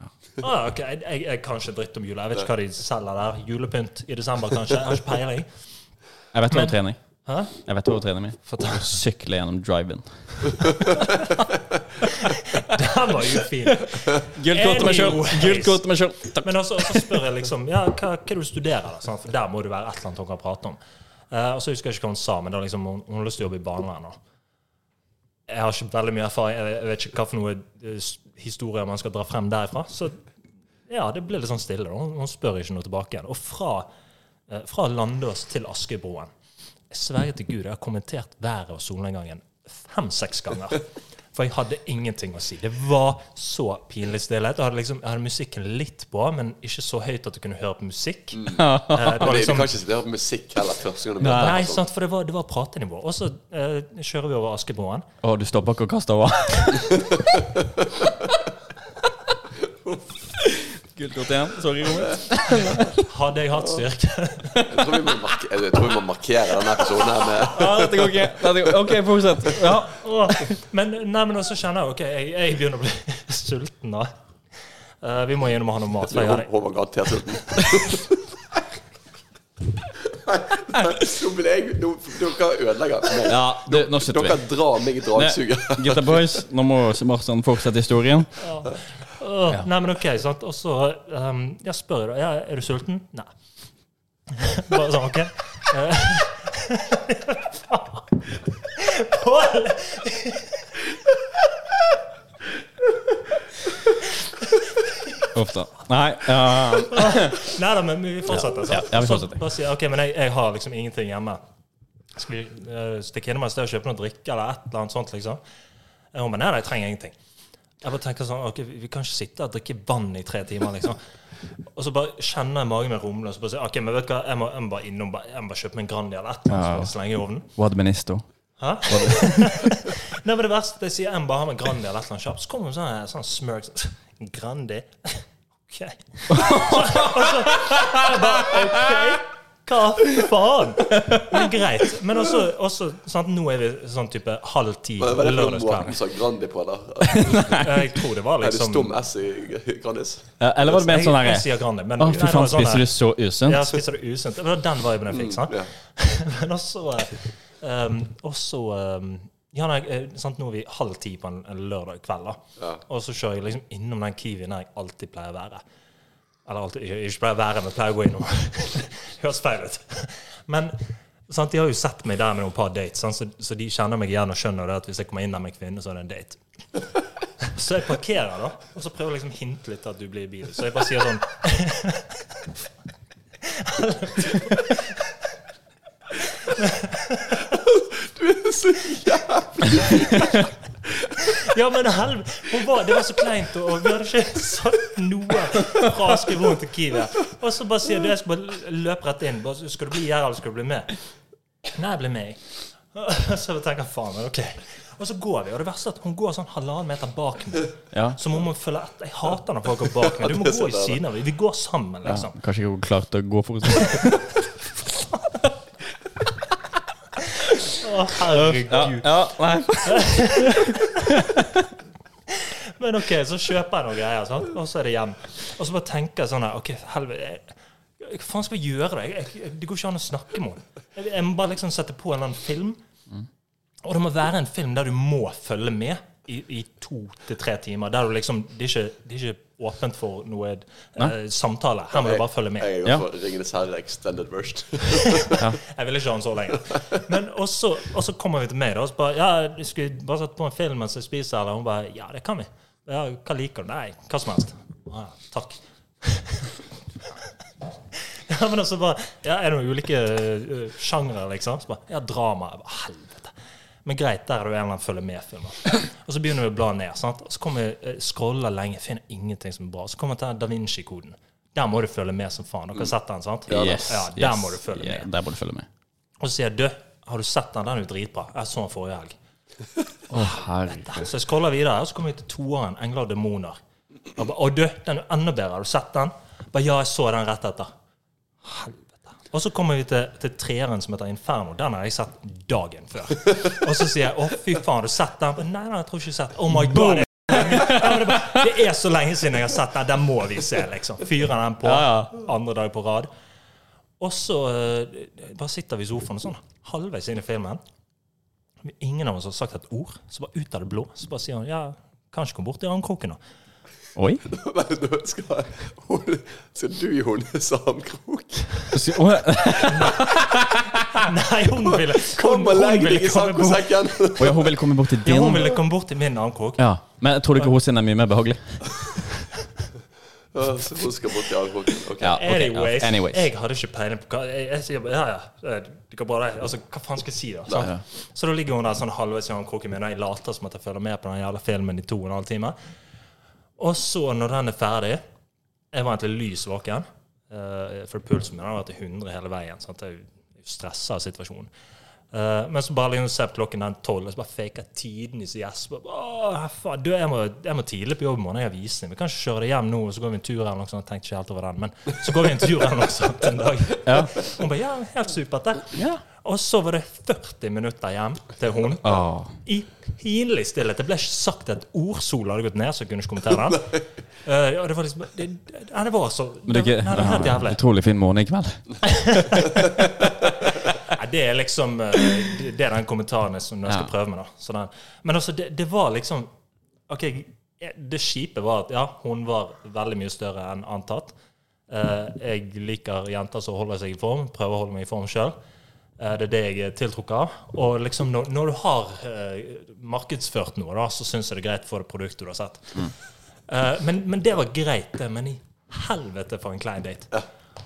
[SPEAKER 1] Ja. Ah, ok, jeg, jeg, jeg kan ikke dritt om jula. Jeg vet ikke hva de selger der. Julepynt i desember, kanskje? Jeg har ikke peiling.
[SPEAKER 3] Jeg vet hva hun trener.
[SPEAKER 1] Hæ?
[SPEAKER 3] Jeg vet hva hun trener med. Sykle gjennom drive-in.
[SPEAKER 1] Den var jo fin.
[SPEAKER 3] Gult kort til meg sjøl! Gult kort til meg sjøl! Takk.
[SPEAKER 1] Men også, også spør jeg liksom Ja, hva, hva er det du studerer, da? Sånn, For der må det være et eller annet hun kan prate om. Eh, og så husker jeg ikke hva hun sa, men det var liksom, hun, hun har lyst til å jobbe i barnevernet. da. Jeg har ikke veldig mye erfaring. Jeg, jeg vet ikke hva for noe eh, s- historier man skal dra frem derfra. Så ja, det ble litt sånn stille. da. Hun, hun spør ikke noe tilbake igjen. Og fra, eh, fra Landås til Askebroen Jeg sverger til Gud, jeg har kommentert været og solnedgangen fem-seks ganger. For jeg hadde ingenting å si. Det var så pinlig stillhet. Jeg hadde, liksom, jeg hadde musikken litt på, men ikke så høyt at du kunne høre på musikk. Eh, det
[SPEAKER 2] Vi
[SPEAKER 1] var
[SPEAKER 2] vi
[SPEAKER 1] liksom
[SPEAKER 2] kan ikke altså. sitte og høre på musikk heller første gang du møter
[SPEAKER 1] Nei,
[SPEAKER 2] en person.
[SPEAKER 1] sant, for det var, det var pratenivå. Og så eh, kjører vi over Askebroen.
[SPEAKER 3] Å, du stopper ikke å kaste over? Gult kort igjen. Sorry, Robert.
[SPEAKER 1] Hadde jeg hatt styrke
[SPEAKER 2] Jeg tror vi må marke- jeg tror vi må markere denne episoden her med
[SPEAKER 3] Ja, dette går ikke. Dette går. Ok, fortsett. Ja.
[SPEAKER 1] Åh, Men, nei, men også kjenner jeg ok, jeg, jeg begynner å bli sulten nå. Eh, vi må gjennom og ha noe mat. For jeg har det.
[SPEAKER 2] Håvard Gahr T-skjorten. Nei, nei, Nå vil jeg nå- Dere ødelegger meg.
[SPEAKER 3] ja du, nå slutter
[SPEAKER 2] Dere
[SPEAKER 3] vi.
[SPEAKER 2] drar meg i dragsuget.
[SPEAKER 3] Nei, Gutta boys, nå må Marsan fortsette historien.
[SPEAKER 1] Åh, Nei, men ok, sant? Og så ehm, jeg spør jeg da, ja, er du sulten? Nei. Bare sånn, ok. Eh, Pål!
[SPEAKER 3] Ofte. Nei. ja.
[SPEAKER 1] Nei da, men vi fortsetter. sant?
[SPEAKER 3] Ja, ja, vi fortsetter.
[SPEAKER 1] Så bare sier jeg, ok, men jeg, jeg har liksom ingenting hjemme. Skal vi eh, stikke innom et sted og kjøpe noe drikke eller et eller annet sånt, liksom? Eh, Hun bare nei, nei, jeg trenger ingenting. Jeg bare tenker sånn, ok, vi- Vi kan ikke sitte og drikke vann i tre timer, liksom. Og så bare kjenner jeg magen min rumle, og så bare sier jeg, ok, men vet du hva, jeg må, jeg må bare innom, bare- jeg må bare kjøpe meg en Grandi eller et eller annet, så bare slenge i ovnen.
[SPEAKER 3] What minister?
[SPEAKER 1] Hæ? Nei, men det verste jeg sier, jeg bare har med Grandi eller et eller annet kjapt, så kommer hun sånn, sånn smirk sånn, Grandi? OK. Så, og så jeg bare OK. Hva faen? Men greit. Men også, også sant, nå er vi sånn type halv ti
[SPEAKER 2] Men Hva er det for måten
[SPEAKER 1] lørdagskvelden.
[SPEAKER 2] som Grandi på der?
[SPEAKER 1] Jeg tror det var
[SPEAKER 2] Er det
[SPEAKER 1] liksom
[SPEAKER 2] stum S i Grandis?
[SPEAKER 3] Ja, Eller var det mer
[SPEAKER 1] Jeg,
[SPEAKER 3] sånn
[SPEAKER 1] jeg
[SPEAKER 3] herre
[SPEAKER 1] sier Grandi, men
[SPEAKER 3] Å, fy faen, spiser du så
[SPEAKER 1] sånn Ja,
[SPEAKER 3] usunt?
[SPEAKER 1] spiser du usunt? Det var den viben jeg fikk. sant?
[SPEAKER 2] Ja.
[SPEAKER 1] Men også eh, um, Også um, ja, nei, eh, sant, Nå er vi halv ti på en, en lørdag kveld, da.
[SPEAKER 2] Ja.
[SPEAKER 1] Og så kjører jeg liksom innom den Kiwien der jeg alltid pleier å være. Eller alltid, jeg, jeg ikke pleier å være, men pleier å gå innom. Høres feil ut. Men sant, de har jo sett meg der med noen par dates, sant, så, så de kjenner meg igjen og skjønner det at hvis jeg kommer inn der med en kvinne, så er det en date. Så jeg parkerer, da, og så prøver jeg liksom å hinte litt at du blir i bilen. Så jeg bare sier sånn
[SPEAKER 2] Du er så jævlig
[SPEAKER 1] Ja, men helvete! Hun var- Det var så kleint, og og vi hadde ikke sagt noe fra Askevold til Kiwi. Og så bare sier du jeg skal bare løpe rett inn. Bare, skal du bli her, eller skal du bli med? Nei, jeg blir med. jeg. Så jeg tenker faen, men ok. Og så går vi, og det verste er at hun går sånn halvannen meter bak meg.
[SPEAKER 3] Ja.
[SPEAKER 1] Som om hun følger etter. Jeg hater når folk går bak meg. Du må gå i siden av dem. Vi går sammen, liksom.
[SPEAKER 3] Kanskje ikke hun klarte å gå for seg.
[SPEAKER 1] Å, herregud.
[SPEAKER 3] Ja, ja, nei.
[SPEAKER 1] Men ok, så kjøper jeg noen greier, sant? og så er det hjem. Og så bare tenker jeg sånn her OK, helvete. jeg- jeg- Hva faen skal jeg gjøre? da? Jeg, jeg, det går ikke an å snakke med henne. Jeg, jeg må bare liksom sette på en eller annen film. Og det må være en film der du må følge med i, i to til tre timer. Der du liksom, det, er ikke, det er ikke åpent for noe eh, samtale. Her må du bare følge med.
[SPEAKER 2] Jeg
[SPEAKER 3] Ja.
[SPEAKER 2] går for Ringenes herre extended version.
[SPEAKER 1] Jeg vil ikke ha den så lenge. Men og så og så kommer vi til meg, da. Og så bare, ja, du skulle bare sette på en film mens jeg spiser, eller? Hun bare Ja, det kan vi. Ja, hva liker du? Nei, hva som helst. Ja, takk. Ja, men også bare Ja, er det noen ulike uh, sjangre, liksom? Så bare, ja, drama. Jeg bare, helvete. Men greit, der er det jo en eller annen følger med-filmer. Og så begynner vi å bla ned. sant? Og så kommer vi, eh, scroller lenge, finner ingenting som er bra. Så kommer vi til Da Vinci-koden. Der må du følge med som faen. Dere har sett den, sant?
[SPEAKER 3] Yes,
[SPEAKER 1] ja, der
[SPEAKER 3] yes.
[SPEAKER 1] må du følge med.
[SPEAKER 3] Ja, Der må du følge med.
[SPEAKER 1] Og så sier jeg, du, har du sett den? Den er jo dritbra. Jeg så den forrige helg.
[SPEAKER 3] Å, herregud.
[SPEAKER 1] Så jeg scroller videre, og så kommer vi til toeren, Engler og demoner. Og ba, å du, den er jo enda bedre. Har du sett den? Bare, ja, jeg så den rett etter. Helvete. Og så kommer vi til, til treeren som heter Inferno. Den har jeg sett dagen før. Og så sier jeg, å fy faen, har du sett den? Nei, nei, jeg tror ikke jeg har sett den. Oh my god. Ja, men det, er bare, det er så lenge siden jeg har sett den. Den må vi se, liksom. Fyrer den på
[SPEAKER 3] Ja,
[SPEAKER 1] Mm. andre dag på rad. Og så eh, bare sitter vi i sofaen sånn halvveis inn i filmen. Ingen av oss har sagt et ord. Så bare ut av det blå så bare sier han ja, kanskje kom bort i armkroken, da.
[SPEAKER 3] Oi.
[SPEAKER 2] Men nå skal, hun- skal du i hennes armkrok?
[SPEAKER 3] Så- Å
[SPEAKER 1] Nei, hun ville
[SPEAKER 2] Kom og legg deg i
[SPEAKER 1] komme bort,
[SPEAKER 2] saccosekken!
[SPEAKER 3] å ja, hun ville komme bort til
[SPEAKER 1] ja, hun
[SPEAKER 3] din.
[SPEAKER 1] ville komme bort i min armkrok.
[SPEAKER 3] Ja, Men jeg tror du ikke hun sin er mye mer behagelig?
[SPEAKER 2] Ja, Så hun skal bort i armkroken. Ok.
[SPEAKER 3] Ja, ok, ja.
[SPEAKER 1] Anyways,
[SPEAKER 3] Anyways.
[SPEAKER 1] jeg hadde ikke peiling på hva jeg, jeg sier bare, Ja, ja, eh, det går bra, det. Altså, hva faen skal jeg si, da? Sant? Så da ligger hun der sånn halvveis i armkroken min, og jeg later som at jeg følger med på den jævla filmen i to og en halv time. Og så, når den er ferdig Jeg var egentlig lys våken, eh, for pulsen min har vært i 100 hele veien. Sant? Jeg er jo stressa av situasjonen. Eh, men så bare liksom ser jeg på klokken den tolv, og så bare faker jeg tiden i så gjesper. Åh, faen, du, jeg må, jeg må tidlig på jobb i morgen, jeg har visning. Vi kan ikke kjøre det hjem nå, og så går vi en tur eller noe sånt. Jeg tenkte ikke helt over den, men så går vi en tur eller noe sånt en dag. Hun bare, ja, helt supert det.
[SPEAKER 3] Ja.
[SPEAKER 1] Og så var det 40 minutter hjem til hun.
[SPEAKER 3] Å.
[SPEAKER 1] I pinlig stillhet. Det ble ikke sagt et ord. Sola hadde gått ned, så jeg kunne ikke kommentere det. Eh, ja, det var liksom det, det, Nei, det var så
[SPEAKER 3] Men det er ikke
[SPEAKER 1] Nei, det er helt jævlig.
[SPEAKER 3] Utrolig fin morgen i kveld.
[SPEAKER 1] Nei, det er liksom eh, Det det er den kommentaren jeg som jeg skal
[SPEAKER 3] Ja.
[SPEAKER 1] prøve med, da. Så den, men altså, det, det var liksom OK, det kjipe var at ja, hun var veldig mye større enn antatt. Eh, jeg liker jenter som holder seg i form, prøver å holde meg i form sjøl. det er det jeg er tiltrukket av. Og liksom når, når du har eh, markedsført noe, da, så syns jeg det er greit for det produktet du har sett. Eh, men, men det var greit, det. Men i helvete for en klein date.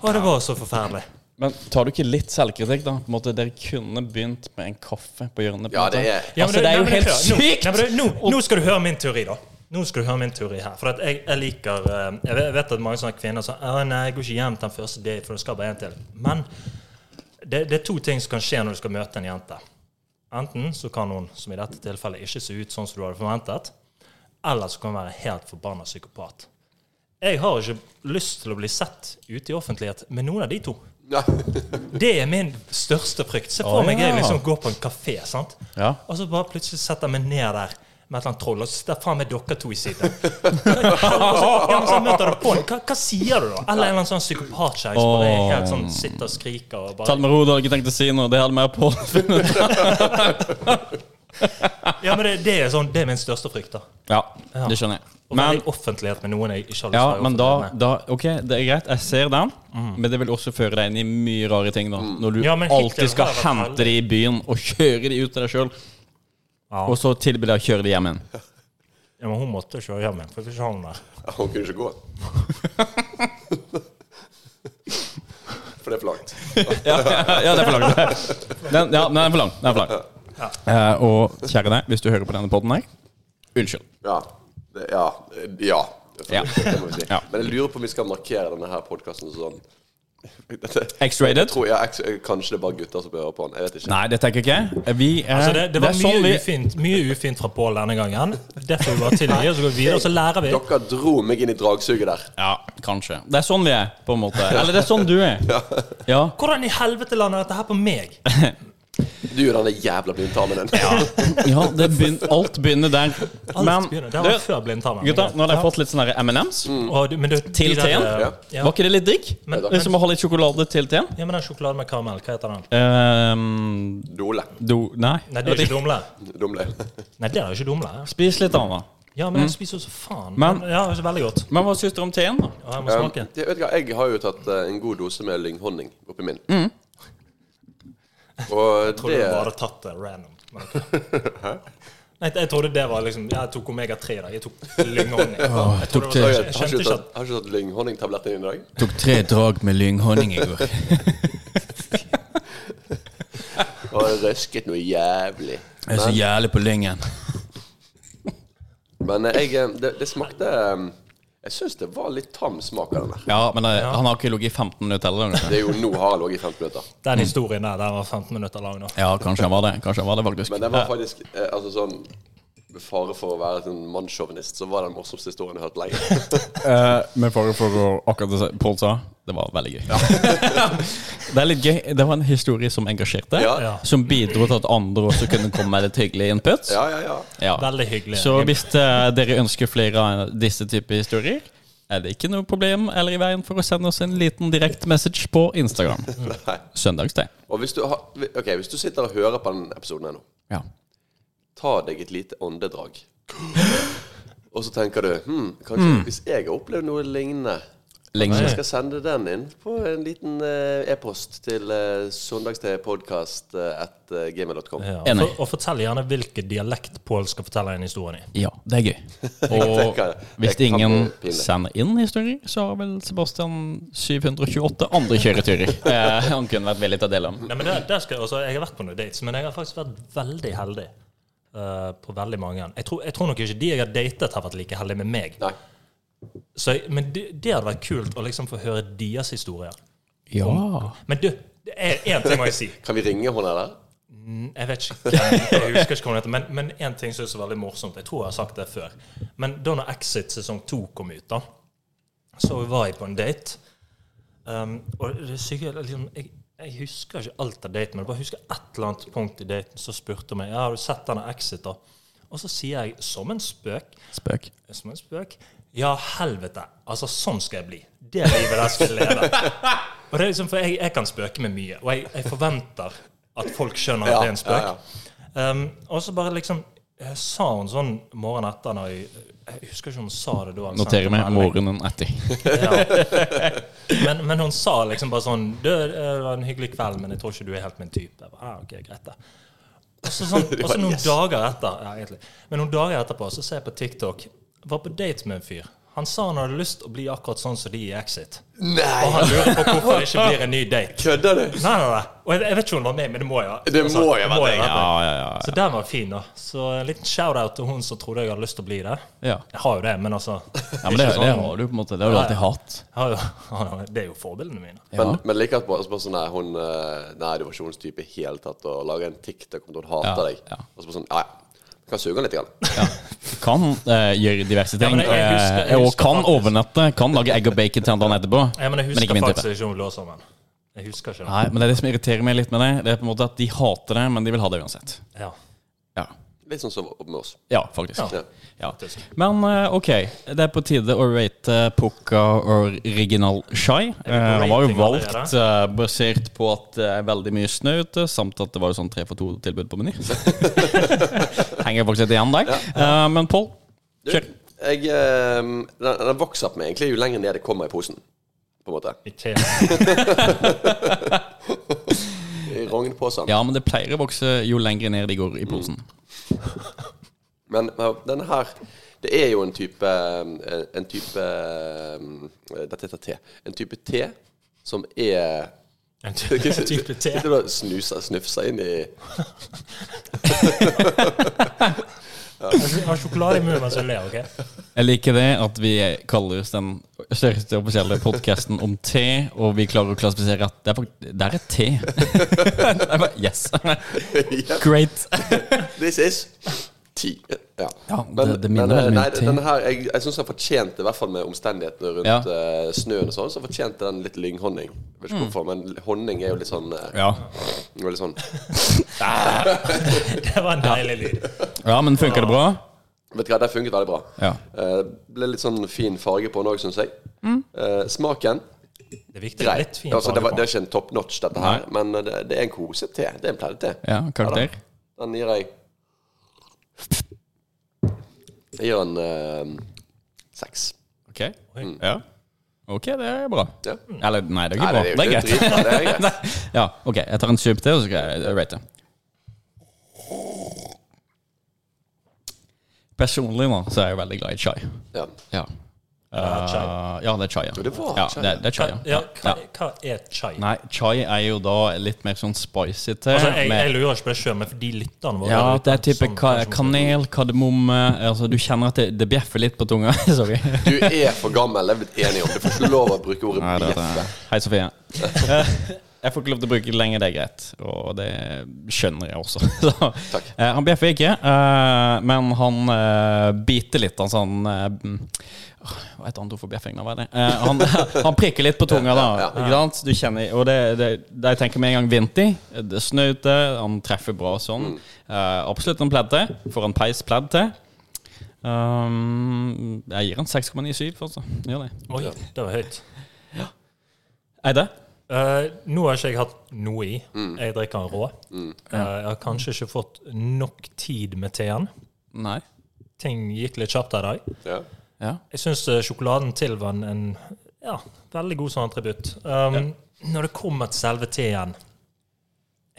[SPEAKER 1] Og det var så forferdelig.
[SPEAKER 3] Men tar du ikke litt selvkritikk, da? På en måte, Dere kunne begynt med en kaffe på hjørnet. på en
[SPEAKER 2] Ja,
[SPEAKER 3] måte.
[SPEAKER 2] det er-
[SPEAKER 1] Ja, men
[SPEAKER 3] altså,
[SPEAKER 1] du-
[SPEAKER 3] det er
[SPEAKER 1] nei,
[SPEAKER 3] jo
[SPEAKER 1] men
[SPEAKER 3] helt
[SPEAKER 1] hør, nå-
[SPEAKER 3] sykt!
[SPEAKER 1] Nei, men du, nå, nå skal du høre min teori, da. Nå skal du høre min teori her. For at jeg, jeg liker eh, Jeg vet- jeg vet at mange sånne kvinner sier Å nei, jeg går ikke hjem til den første date, for det skal bare en til. Men det, det er to ting som kan skje når du skal møte en jente. Enten så kan hun, som i dette tilfellet, ikke se ut sånn som du hadde forventet. Eller så kan hun være helt forbanna psykopat. Jeg har ikke lyst til å bli sett ute i offentlighet med noen av de to.
[SPEAKER 2] Nei.
[SPEAKER 1] Det er min største frykt. Se
[SPEAKER 3] Å,
[SPEAKER 1] for meg jeg
[SPEAKER 3] ja.
[SPEAKER 1] liksom går på en kafé, sant?
[SPEAKER 3] Ja.
[SPEAKER 1] og så bare plutselig setter jeg meg ned der med et eller annet troll, og så sitter jeg faen meg dere to i siden. Og så, ja, men så møter du på den. Hva, hva sier du da? Eller en eller annen sånn psykopatkjerring som bare er helt sånn sitter og skriker og
[SPEAKER 3] Ta
[SPEAKER 1] bare
[SPEAKER 3] det med ro, du hadde ikke tenkt å si noe. Det hadde mer på
[SPEAKER 1] Ja, men det, det er sånn, det er min største frykt, da.
[SPEAKER 3] Ja,
[SPEAKER 1] Ja.
[SPEAKER 3] det skjønner jeg.
[SPEAKER 1] Å være
[SPEAKER 3] Men,
[SPEAKER 1] i offentlighet med noen jeg ikke har lyst til
[SPEAKER 3] ja,
[SPEAKER 1] å være i
[SPEAKER 3] men da,
[SPEAKER 1] offentlighet med.
[SPEAKER 3] da OK, det er greit. Jeg ser den. Men det vil også føre deg inn i mye rare ting, da.
[SPEAKER 2] Mm.
[SPEAKER 3] Når du
[SPEAKER 1] Mm. Ja, men Hitler
[SPEAKER 3] alltid skal
[SPEAKER 1] har vært
[SPEAKER 3] hente de i byen og kjøre de ut til deg sjøl.
[SPEAKER 1] Ja.
[SPEAKER 3] Og så tilby deg å kjøre de hjem igjen.
[SPEAKER 1] Ja, men hun måtte kjøre hjem igjen, for jeg vil ikke ha henne der.
[SPEAKER 2] Ja, Hun kunne ikke gå. For det er for langt.
[SPEAKER 3] ja, ja, ja, det er for langt. Den, ja, den er for lang. Den er for lang. Eh, og kjære deg, hvis du hører på denne poden her, Unnskyld.
[SPEAKER 2] Ja. Det, ja. ja.
[SPEAKER 3] Ja.
[SPEAKER 2] Det må vi si.
[SPEAKER 3] Ja.
[SPEAKER 2] Men jeg lurer på om vi skal markere denne her podkasten sånn Dette- Jeg
[SPEAKER 3] X-rated?
[SPEAKER 2] tror, ja, X- eh, kanskje det er bare gutter som bør høre på den. Jeg vet ikke.
[SPEAKER 3] Nei, det tenker jeg ikke. Vi er,
[SPEAKER 1] Altså det, det var
[SPEAKER 3] er
[SPEAKER 1] mye,
[SPEAKER 3] sånn vi-
[SPEAKER 1] ufint, mye ufint fra Pål denne gangen. Det får vi bare tilgi, og så går vi videre, og så lærer vi.
[SPEAKER 2] Dere dro meg inn i dragsuget der.
[SPEAKER 3] Ja, kanskje. Det er sånn vi er, på en måte. Eller det er sånn du er. Ja.
[SPEAKER 1] Hvordan i helvete lander dette her på meg?
[SPEAKER 2] Du og den jævla blindtarmen din.
[SPEAKER 3] Ja, det begyn alt begynner der.
[SPEAKER 1] Alt
[SPEAKER 3] Men
[SPEAKER 1] begynner. Det var
[SPEAKER 3] du,
[SPEAKER 1] før blindtarmen.
[SPEAKER 3] gutta, nå har jeg fått litt sånne her M&M's.
[SPEAKER 1] Og du- men du- de
[SPEAKER 3] Til
[SPEAKER 1] der,
[SPEAKER 3] teen?
[SPEAKER 1] eh, Ja.
[SPEAKER 3] Var ikke det litt digg?
[SPEAKER 1] Men-
[SPEAKER 3] Liksom å ha litt sjokolade til teen?
[SPEAKER 1] ja, men den sjokoladen med karamell, hva heter den?
[SPEAKER 3] Ehm,
[SPEAKER 2] Dole.
[SPEAKER 3] do... Nei.
[SPEAKER 1] Nei, det er ikke dumle.
[SPEAKER 2] Dumle.
[SPEAKER 1] Nei, det er jo ikke dumle.
[SPEAKER 3] Spis litt, da.
[SPEAKER 1] Ja, men jeg spiser jo så faen.
[SPEAKER 3] Mm. Men-
[SPEAKER 1] ja, det er veldig godt.
[SPEAKER 3] Men hva syns dere om teen? da?
[SPEAKER 1] Ja, jeg må smake.
[SPEAKER 2] Jeg, Um, vet ikke, jeg har jo tatt eh, en god dose med lynghonning oppi min. Og
[SPEAKER 1] Tror
[SPEAKER 2] det
[SPEAKER 1] du du bare hadde tatt det random? Men ok. Nei, jeg trodde det var liksom Jeg tok Omega-3 i dag. Jeg tok lynghonning. Jeg, trodde det
[SPEAKER 2] Oi,
[SPEAKER 1] var-
[SPEAKER 2] jeg,
[SPEAKER 1] jeg
[SPEAKER 2] har
[SPEAKER 1] skjønte
[SPEAKER 2] ikke du
[SPEAKER 1] ikke
[SPEAKER 2] tatt,
[SPEAKER 1] at
[SPEAKER 2] har ikke du tatt lynghonningtabletten din i dag?
[SPEAKER 3] Tok tre drag med lynghonning i går.
[SPEAKER 2] Og jeg røsket noe jævlig.
[SPEAKER 3] Jeg er så jævlig på lyngen.
[SPEAKER 2] Men eh, jeg, eh, det, det smakte eh, Jeg syns det var litt tam smak av den der.
[SPEAKER 3] Ja, men eh, han har ikke ligget i 15 minutter heller. kanskje?
[SPEAKER 2] Det er jo nå har jeg ligget i 15 minutter.
[SPEAKER 1] den historien der den var 15 minutter lang nå.
[SPEAKER 3] Ja, kanskje han var det. Kanskje han var det, faktisk.
[SPEAKER 2] Men den var faktisk eh, Altså sånn med fare for å være sånn mannssjåvinist, så var det den morsomste historien jeg har hørt lenge.
[SPEAKER 3] Eh, Men for, for å akkurat det som Pål sa, det var veldig gøy. det er litt gøy. Det var en historie som engasjerte,
[SPEAKER 2] Ja.
[SPEAKER 1] Ja.
[SPEAKER 3] som bidro til at andre også kunne komme med litt hyggelig input.
[SPEAKER 2] Ja, ja, ja.
[SPEAKER 3] Ja.
[SPEAKER 1] Veldig hyggelig.
[SPEAKER 3] Så hvis eh, dere ønsker flere av disse typer historier, er det ikke noe problem eller i veien for å sende oss en liten direkte message på Instagram.
[SPEAKER 2] Nei.
[SPEAKER 3] Søndagsdag.
[SPEAKER 2] Og hvis du, har, ok, hvis du sitter og hører på den episoden her nå,
[SPEAKER 3] Ja.
[SPEAKER 2] ta deg et lite åndedrag. Og så tenker du hm, kanskje
[SPEAKER 1] Hmm.
[SPEAKER 2] hvis jeg har opplevd noe lignende Kanskje jeg
[SPEAKER 3] Lignende.
[SPEAKER 2] skal sende den inn på en liten eh, e-post til eh, uh, søndagstedpodkast.gmail.com.
[SPEAKER 1] Ja,
[SPEAKER 3] Enig.
[SPEAKER 1] for, og fortell gjerne hvilken dialekt Pål skal fortelle en historie i.
[SPEAKER 3] Ja, det er gøy. Og
[SPEAKER 2] tenker det.
[SPEAKER 3] hvis
[SPEAKER 2] Det kan
[SPEAKER 3] ingen
[SPEAKER 2] bli pinlig.
[SPEAKER 3] sender inn historier, så har vel Sebastian 728 andre kjøreturer eh, han kunne vært villig til å dele om.
[SPEAKER 1] Nei, men det, det skal, jeg- altså, jeg har vært på noen dates, men jeg har faktisk vært veldig heldig eh, på veldig mange. Jeg tror, jeg tror nok ikke de jeg har datet, har vært like heldige med meg.
[SPEAKER 2] Nei.
[SPEAKER 1] Så, jeg- men det, det hadde vært kult å liksom få høre deres historier.
[SPEAKER 3] Ja.
[SPEAKER 1] Men du, det er én ting må jeg si.
[SPEAKER 2] Kan vi ringe hun der?
[SPEAKER 1] Jeg vet ikke, hvem- jeg husker ikke hva hun heter, men, men en ting synes jeg er veldig morsomt. Jeg tror jeg har sagt det før. Men da når Exit sesong to kom ut, da, så var jeg på en date. Um, og det syke er liksom, jeg, jeg husker ikke alt av daten, men jeg bare husker et eller annet punkt i daten som spurte hun meg ja, har du sett denne Exit. da? Og så sier jeg som en spøk
[SPEAKER 3] Spøk.
[SPEAKER 1] som en spøk Ja, helvete. Altså, sånn skal jeg bli. Det livet der skal jeg leve. Og det er liksom, for jeg, jeg kan spøke med mye, og jeg, jeg forventer at folk skjønner at det er en spøk.
[SPEAKER 2] ja,
[SPEAKER 1] Um, og så bare liksom eh, sa hun sånn morgenen etter når jeg, jeg husker ikke om hun sa det da. eller
[SPEAKER 3] Noterer
[SPEAKER 1] sendte
[SPEAKER 3] meg
[SPEAKER 1] melding.
[SPEAKER 3] morgenen etter.
[SPEAKER 1] Men, men hun sa liksom bare sånn Du, det var en hyggelig kveld, men jeg tror ikke du er helt min type. Jeg bare, ah, ok, greit da. Og så sånn, og så noen dager etter ja, egentlig, Men noen dager etterpå så ser jeg på TikTok Var på date med en fyr. Han sa han hadde lyst til å bli akkurat sånn som de i Exit. Og
[SPEAKER 2] Nei!
[SPEAKER 1] han lurer på hvorfor det ikke blir en ny date.
[SPEAKER 2] Kødder du?
[SPEAKER 1] Nei, nei, nei. Og jeg, jeg vet ikke om hun var med, men det må jeg ha. altså,
[SPEAKER 2] Det må jeg ha vært,
[SPEAKER 1] ha
[SPEAKER 3] Ja, ja, ja.
[SPEAKER 1] Så den var fin, da. Så en liten shout-out til hun som trodde jeg hadde lyst til å bli det.
[SPEAKER 3] Ja.
[SPEAKER 1] Jeg har jo det, men altså sånn-
[SPEAKER 3] Ja, men det, det har du på en måte. Det har du alltid hatt.
[SPEAKER 1] Jeg har jo, Det er jo forbildene mine.
[SPEAKER 2] Men, men like at bare, så bare sånn Nei, hun, eh, nei det var ikke hennes type i hele tatt. Og lage en TikTok om at hun hater
[SPEAKER 3] Ja,
[SPEAKER 2] deg.
[SPEAKER 3] ja.
[SPEAKER 2] Og så bare sånn Ja, ja. Kan suge den litt. Grann.
[SPEAKER 3] Kan eh, gjøre diverse ting.
[SPEAKER 1] men jeg- jeg husker- jeg
[SPEAKER 3] eh, og
[SPEAKER 1] husker
[SPEAKER 3] kan
[SPEAKER 1] faktisk-
[SPEAKER 3] overnette. Kan lage egg og bacon til han dagen etterpå.
[SPEAKER 1] Ja, men jeg husker
[SPEAKER 3] ikke min type.
[SPEAKER 1] faktisk ikke om vi lå sammen. Jeg husker ikke.
[SPEAKER 3] Nei, men det er det som irriterer meg litt med det. Det er på en måte at de hater det, men de vil ha det uansett.
[SPEAKER 1] Ja.
[SPEAKER 3] Ja,
[SPEAKER 2] Litt sånn som med oss.
[SPEAKER 3] ja faktisk.
[SPEAKER 1] Ja.
[SPEAKER 2] Ja.
[SPEAKER 3] Ja.
[SPEAKER 1] Faktisk.
[SPEAKER 3] Men eh, OK, det er på tide å rate Pukka Original Shy. Eh, han var jo
[SPEAKER 1] rating
[SPEAKER 3] valgt eh, basert på at det er veldig mye snø ute, samt at det var jo sånn tre for to-tilbud på Meny. Henger faktisk litt igjen der. Eh, men Pål,
[SPEAKER 2] Du,
[SPEAKER 3] kjør.
[SPEAKER 2] Jeg, eh, den, den vokser på meg egentlig jo lenger ned det kommer i posen. På en måte.
[SPEAKER 1] Ikke
[SPEAKER 2] I sånn. rognposen.
[SPEAKER 3] Ja, men det pleier å vokse jo lenger ned de går i posen.
[SPEAKER 2] Men eh, denne her Det er jo en type eh, En type eh, Dette heter te. En type te som er
[SPEAKER 1] en type, en type te.
[SPEAKER 2] Sitter du og snuser, snufser inn i
[SPEAKER 1] Jeg har sjokolade i munnen mens jeg ler, OK?
[SPEAKER 3] Jeg liker det at vi kaller oss den største offisielle podkasten om te, og vi klarer å klassifisere at det er, fakt- det er et te. Det er bare, yes.
[SPEAKER 2] Yep,
[SPEAKER 3] Great.
[SPEAKER 2] This is tea. Ja.
[SPEAKER 3] Ja, det- det minner
[SPEAKER 2] eh,
[SPEAKER 3] veldig mye
[SPEAKER 2] nei,
[SPEAKER 3] om te.
[SPEAKER 2] denne her, jeg, jeg syns den fortjente, i hvert fall med omstendighetene rundt
[SPEAKER 3] Ja. Mm.
[SPEAKER 2] eh, snøen og sånn, så fortjente den litt lynghonning. Jeg Vet ikke hvorfor, men honning er jo litt sånn eh,
[SPEAKER 3] Ja.
[SPEAKER 2] Veldig sånn
[SPEAKER 1] Det var en deilig lyd.
[SPEAKER 3] ja, men funker det bra?
[SPEAKER 2] Vet du hva, det funket veldig bra.
[SPEAKER 3] Ja.
[SPEAKER 2] Eh, ble litt sånn fin farge på den òg, syns jeg. Eh, smaken
[SPEAKER 1] Det er viktig.
[SPEAKER 2] grei.
[SPEAKER 1] Litt fin
[SPEAKER 2] Altså, det, var,
[SPEAKER 1] farge på.
[SPEAKER 2] det er ikke en top notch, dette her, men eh, det, det er en kosete. Det er en pleidete.
[SPEAKER 3] Ja, karakter?
[SPEAKER 2] Den gir jeg Jeg gir den eh, seks.
[SPEAKER 3] Ok. Ja. Ok, det er bra.
[SPEAKER 2] Ja.
[SPEAKER 3] Eller nei, det er ikke bra.
[SPEAKER 2] jo
[SPEAKER 3] Det er
[SPEAKER 2] ikke
[SPEAKER 3] greit.
[SPEAKER 2] dritbra, det er greit.
[SPEAKER 3] Ja, ok, jeg tar en sup til, og så skal jeg rate. Personlig nå, så er jeg veldig glad i chai.
[SPEAKER 2] Ja.
[SPEAKER 3] Ja.
[SPEAKER 1] Ja, chai.
[SPEAKER 3] Eh, ja, det er chai, ja.
[SPEAKER 2] Jo, det var
[SPEAKER 3] ja,
[SPEAKER 2] chai.
[SPEAKER 3] Det, det er chai, ja.
[SPEAKER 1] Ja, hva, hva er chai?
[SPEAKER 3] Nei, chai er jo da litt mer sånn spicy te.
[SPEAKER 1] Altså, jeg, Sånn-
[SPEAKER 3] med-
[SPEAKER 1] jeg lurer ikke på det sjøl, men for de lytterne våre
[SPEAKER 3] ja,
[SPEAKER 1] der ute
[SPEAKER 3] det er type
[SPEAKER 1] som
[SPEAKER 3] ka
[SPEAKER 1] kanskje-
[SPEAKER 3] kanel, kardemomme altså, Du kjenner at det, det bjeffer litt på tunga. Sorry.
[SPEAKER 2] Du er for gammel, det er vi blitt enige om. Du får ikke lov å bruke ordet
[SPEAKER 3] Nei, det-
[SPEAKER 2] bjeffe.
[SPEAKER 3] Hei, Sofie. Eh, Jeg får ikke lov til å bruke det lenge, det er greit. Og det skjønner jeg også. Så,
[SPEAKER 2] Takk.
[SPEAKER 3] eh, Han bjeffer ikke, eh, men han eh, biter litt. Altså han eh, mm, åh, Hva er et annet ord for bjeffing? da, Hva er det? Eh, han, han prikker litt på tunga, da. Ikke sant? Du kjenner, og det, det, det jeg tenker med en gang vinter. Det er snø ute, han treffer bra sånn. Eh, absolutt en pledd til. Får en peis pledd til. Um, jeg gir han 6,97, altså. Gjør det.
[SPEAKER 1] Oi, det var høyt.
[SPEAKER 3] Eide?
[SPEAKER 1] Eh, nå har ikke jeg hatt noe i.
[SPEAKER 2] Mm.
[SPEAKER 1] Jeg drikker den rå. Eh, jeg har kanskje ikke fått nok tid med teen.
[SPEAKER 3] Nei.
[SPEAKER 1] Ting gikk litt kjapt her i dag.
[SPEAKER 2] Ja.
[SPEAKER 3] Ja.
[SPEAKER 1] Jeg syns eh, sjokoladen til var en, en ja, veldig god sånn attributt. Um, Når det kommer til selve teen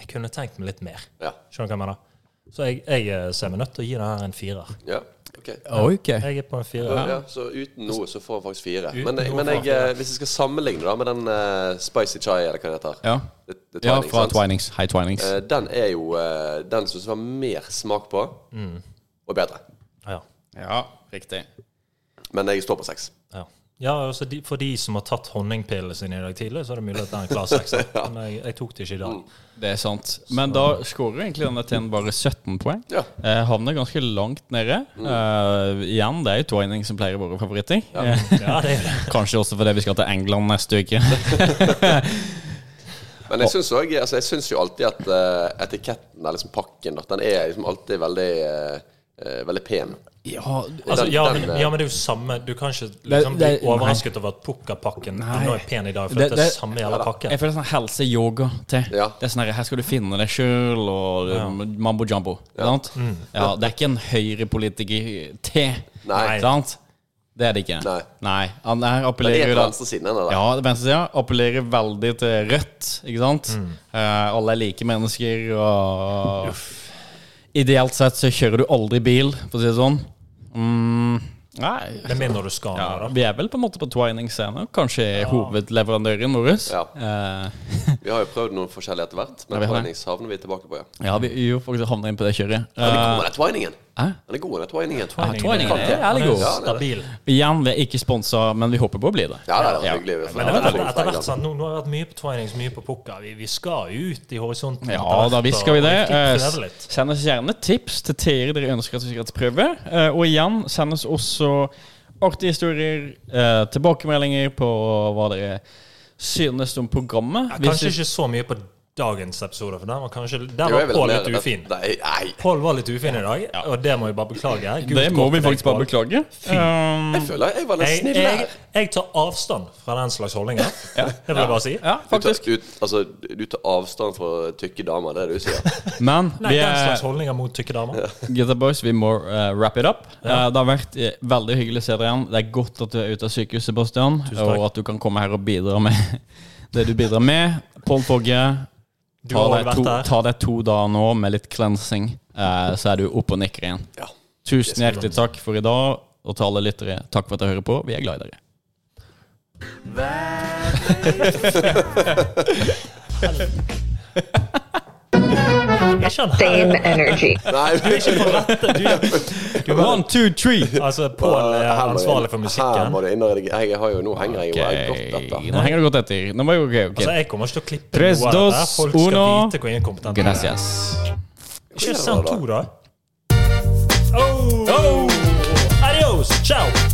[SPEAKER 1] Jeg kunne tenkt meg litt mer.
[SPEAKER 2] Ja.
[SPEAKER 1] Skjønner du hva jeg mener? Så jeg, jeg eh, ser meg nødt til å gi denne her en firer.
[SPEAKER 2] ja. Ok.
[SPEAKER 3] Ok.
[SPEAKER 1] Jeg er på en firer.
[SPEAKER 2] Ja, så uten noe så får han faktisk fire.
[SPEAKER 1] Uten
[SPEAKER 2] Men,
[SPEAKER 1] noe
[SPEAKER 2] men
[SPEAKER 1] får han
[SPEAKER 2] jeg, eh, hvis jeg skal sammenligne da med den eh, spicy chai, eller hva det heter
[SPEAKER 3] Ja.
[SPEAKER 2] det, det er
[SPEAKER 3] ja,
[SPEAKER 2] Twinings,
[SPEAKER 3] fra
[SPEAKER 2] sant?
[SPEAKER 3] Twinings. Hei, Twinings.
[SPEAKER 2] Eh, Den er jo eh, den som det var mer smak på,
[SPEAKER 3] Mm.
[SPEAKER 2] og bedre.
[SPEAKER 1] Ja.
[SPEAKER 3] Ja, riktig.
[SPEAKER 2] Men jeg står på seks.
[SPEAKER 1] Ja. Ja, altså de, For de som har tatt honningpillene sine i dag tidlig, så er det mulig at det er en klar sekser. Men jeg, jeg tok det ikke i dag.
[SPEAKER 3] Det er sant. Men da skårer egentlig denne til en bare 17 poeng.
[SPEAKER 2] Ja. Mm.
[SPEAKER 3] Eh, havner ganske langt nede. Eh, igjen, det er jo Twinings som pleier våre favoritter. Eh,
[SPEAKER 1] Ja, det er det.
[SPEAKER 3] kanskje også fordi vi skal til England neste uke.
[SPEAKER 2] Men jeg syns, også, altså, jeg syns jo alltid at eh, etiketten, eller liksom pakken, at den er liksom alltid veldig eh, eh, Veldig pen.
[SPEAKER 3] ja,
[SPEAKER 1] Altså,
[SPEAKER 2] Den-
[SPEAKER 1] ja,
[SPEAKER 2] den,
[SPEAKER 1] men,
[SPEAKER 2] eh,
[SPEAKER 1] ja, men det er jo samme Du kan ikke liksom,
[SPEAKER 3] Det-
[SPEAKER 1] bli
[SPEAKER 3] det-
[SPEAKER 1] overrasket over at pukkerpakken
[SPEAKER 3] Nei.
[SPEAKER 1] nå er pen i dag, for
[SPEAKER 3] Det-
[SPEAKER 1] det, er
[SPEAKER 3] det-
[SPEAKER 1] samme jævla pakke.
[SPEAKER 3] jeg føler sånn helse-yoga til.
[SPEAKER 2] Ja.
[SPEAKER 3] Det er sånn her, her skal du finne deg sjøl, og eh, mambo jumbo. Sant? Ja, det er ikke en høyrepolitiker-te.
[SPEAKER 2] Nei.
[SPEAKER 3] Sant? Det er det ikke.
[SPEAKER 2] Nei.
[SPEAKER 3] Han her
[SPEAKER 2] Den er
[SPEAKER 3] appellerer
[SPEAKER 2] på
[SPEAKER 3] jo da
[SPEAKER 2] venstresiden. den der.
[SPEAKER 3] Ja, venstresida appellerer veldig til rødt, ikke sant?
[SPEAKER 2] Mm.
[SPEAKER 3] Eh, alle er like mennesker, og Ideelt sett så kjører du aldri bil, for å si det sånn. Mm. Nei.
[SPEAKER 1] Med mindre du skal nå,
[SPEAKER 3] Ja,
[SPEAKER 1] da.
[SPEAKER 3] vi er vel på en måte på Twining scene. Kanskje hovedleverandøren vår.
[SPEAKER 2] Ja.
[SPEAKER 3] Eh,
[SPEAKER 2] Vi har jo prøvd noen forskjellige etter hvert,
[SPEAKER 3] Ja,
[SPEAKER 2] men
[SPEAKER 3] vi har det.
[SPEAKER 2] Twinings havner vi tilbake på, ja.
[SPEAKER 3] ja, vi vi jo faktisk havner inn på det kjøret.
[SPEAKER 2] Men det
[SPEAKER 3] Eh,
[SPEAKER 2] kommer den twiningen.
[SPEAKER 3] Hæ?
[SPEAKER 2] Den er god, den twiningen.
[SPEAKER 1] Twining,
[SPEAKER 3] Twining
[SPEAKER 1] det-
[SPEAKER 3] er jævlig
[SPEAKER 1] den
[SPEAKER 3] god.
[SPEAKER 1] jo
[SPEAKER 2] Ja, det er
[SPEAKER 1] Stabil.
[SPEAKER 2] det.
[SPEAKER 3] igjen, vi er ikke sponsa, men vi håper på å bli det.
[SPEAKER 2] Ja, det er hyggelig. vi får-
[SPEAKER 1] Men det er
[SPEAKER 2] får
[SPEAKER 1] vel
[SPEAKER 2] litt
[SPEAKER 1] etter
[SPEAKER 2] penger.
[SPEAKER 1] hvert sånn, nå, nå har vi vært mye på Twinings, mye på pukker. Vi, vi skal ut i horisonten.
[SPEAKER 3] Ja,
[SPEAKER 1] etter hvert,
[SPEAKER 3] da visste vi
[SPEAKER 1] og- og
[SPEAKER 3] det. Eh,
[SPEAKER 1] prøve litt.
[SPEAKER 3] Send oss gjerne tips til Tere dere ønsker at vi skal prøve. Eh, Og igjen, send oss også artige historier, eh, tilbakemeldinger på hva dere synes om programmet.
[SPEAKER 1] Ja,
[SPEAKER 3] Hvis
[SPEAKER 1] Kanskje ikke så mye på dagens episode, for den var kanskje Den
[SPEAKER 2] Jo,
[SPEAKER 1] var
[SPEAKER 2] jeg vil
[SPEAKER 1] Pål
[SPEAKER 2] mer-
[SPEAKER 1] litt ufin.
[SPEAKER 2] Nei, nei.
[SPEAKER 1] Pål var litt ufin i dag, og det må vi bare beklage.
[SPEAKER 3] vi- det må vi faktisk bare beklage. Um,
[SPEAKER 2] Jeg føler jeg var den
[SPEAKER 1] Jeg,
[SPEAKER 2] snille
[SPEAKER 1] jeg,
[SPEAKER 2] her.
[SPEAKER 1] jeg tar avstand fra den slags holdninger. Det vil jeg bare si.
[SPEAKER 3] ja,
[SPEAKER 2] Du tar,
[SPEAKER 3] faktisk.
[SPEAKER 2] du, altså, du tar avstand fra tykke damer, det er det du sier.
[SPEAKER 3] Men
[SPEAKER 1] Nei,
[SPEAKER 3] vi
[SPEAKER 1] den slags
[SPEAKER 3] er
[SPEAKER 1] holdninger mot tykke damer.
[SPEAKER 3] Gutta Boys, vi må eh, wrap it up. Eh, det har vært eh, veldig hyggelig å se dere igjen. Det er godt at du er ute av sykehuset, Sebastian,
[SPEAKER 1] takk.
[SPEAKER 3] og at du kan komme her og bidra med det du bidrar med. Pål Fogge,
[SPEAKER 1] Du
[SPEAKER 3] Ta
[SPEAKER 1] har
[SPEAKER 3] deg,
[SPEAKER 1] også
[SPEAKER 3] to,
[SPEAKER 1] vært der.
[SPEAKER 3] ta deg to dager nå med litt cleansing, eh, så er du oppe og nikker igjen.
[SPEAKER 2] Ja.
[SPEAKER 3] Tusen hjertelig takk for i dag, og til alle lyttere, takk for at dere hører på. Vi er glad i dere.
[SPEAKER 1] Jeg ikke han her.
[SPEAKER 4] same energy.
[SPEAKER 2] Nei,
[SPEAKER 1] Du er ikke på rette. Du, du
[SPEAKER 3] One, two, three!
[SPEAKER 1] altså, Pål er
[SPEAKER 2] Her må
[SPEAKER 1] ansvarlig
[SPEAKER 2] jeg-
[SPEAKER 1] for
[SPEAKER 2] Her må
[SPEAKER 1] musikken.
[SPEAKER 2] du inn og redigere. Jeg har jo, nå henger jeg jo jeg godt
[SPEAKER 3] Ok,
[SPEAKER 2] etter.
[SPEAKER 3] Nå henger det godt etter. Nå var jo ok, ok.
[SPEAKER 1] Altså, jeg kommer ikke til å klippe
[SPEAKER 3] Tres,
[SPEAKER 1] noe av dette.
[SPEAKER 3] dos,
[SPEAKER 1] Folk skal
[SPEAKER 3] uno.
[SPEAKER 1] vite hvor inkompetent jeg er.
[SPEAKER 3] Gracias.
[SPEAKER 1] Ikke send to, da. Oh. Adios. Ciao.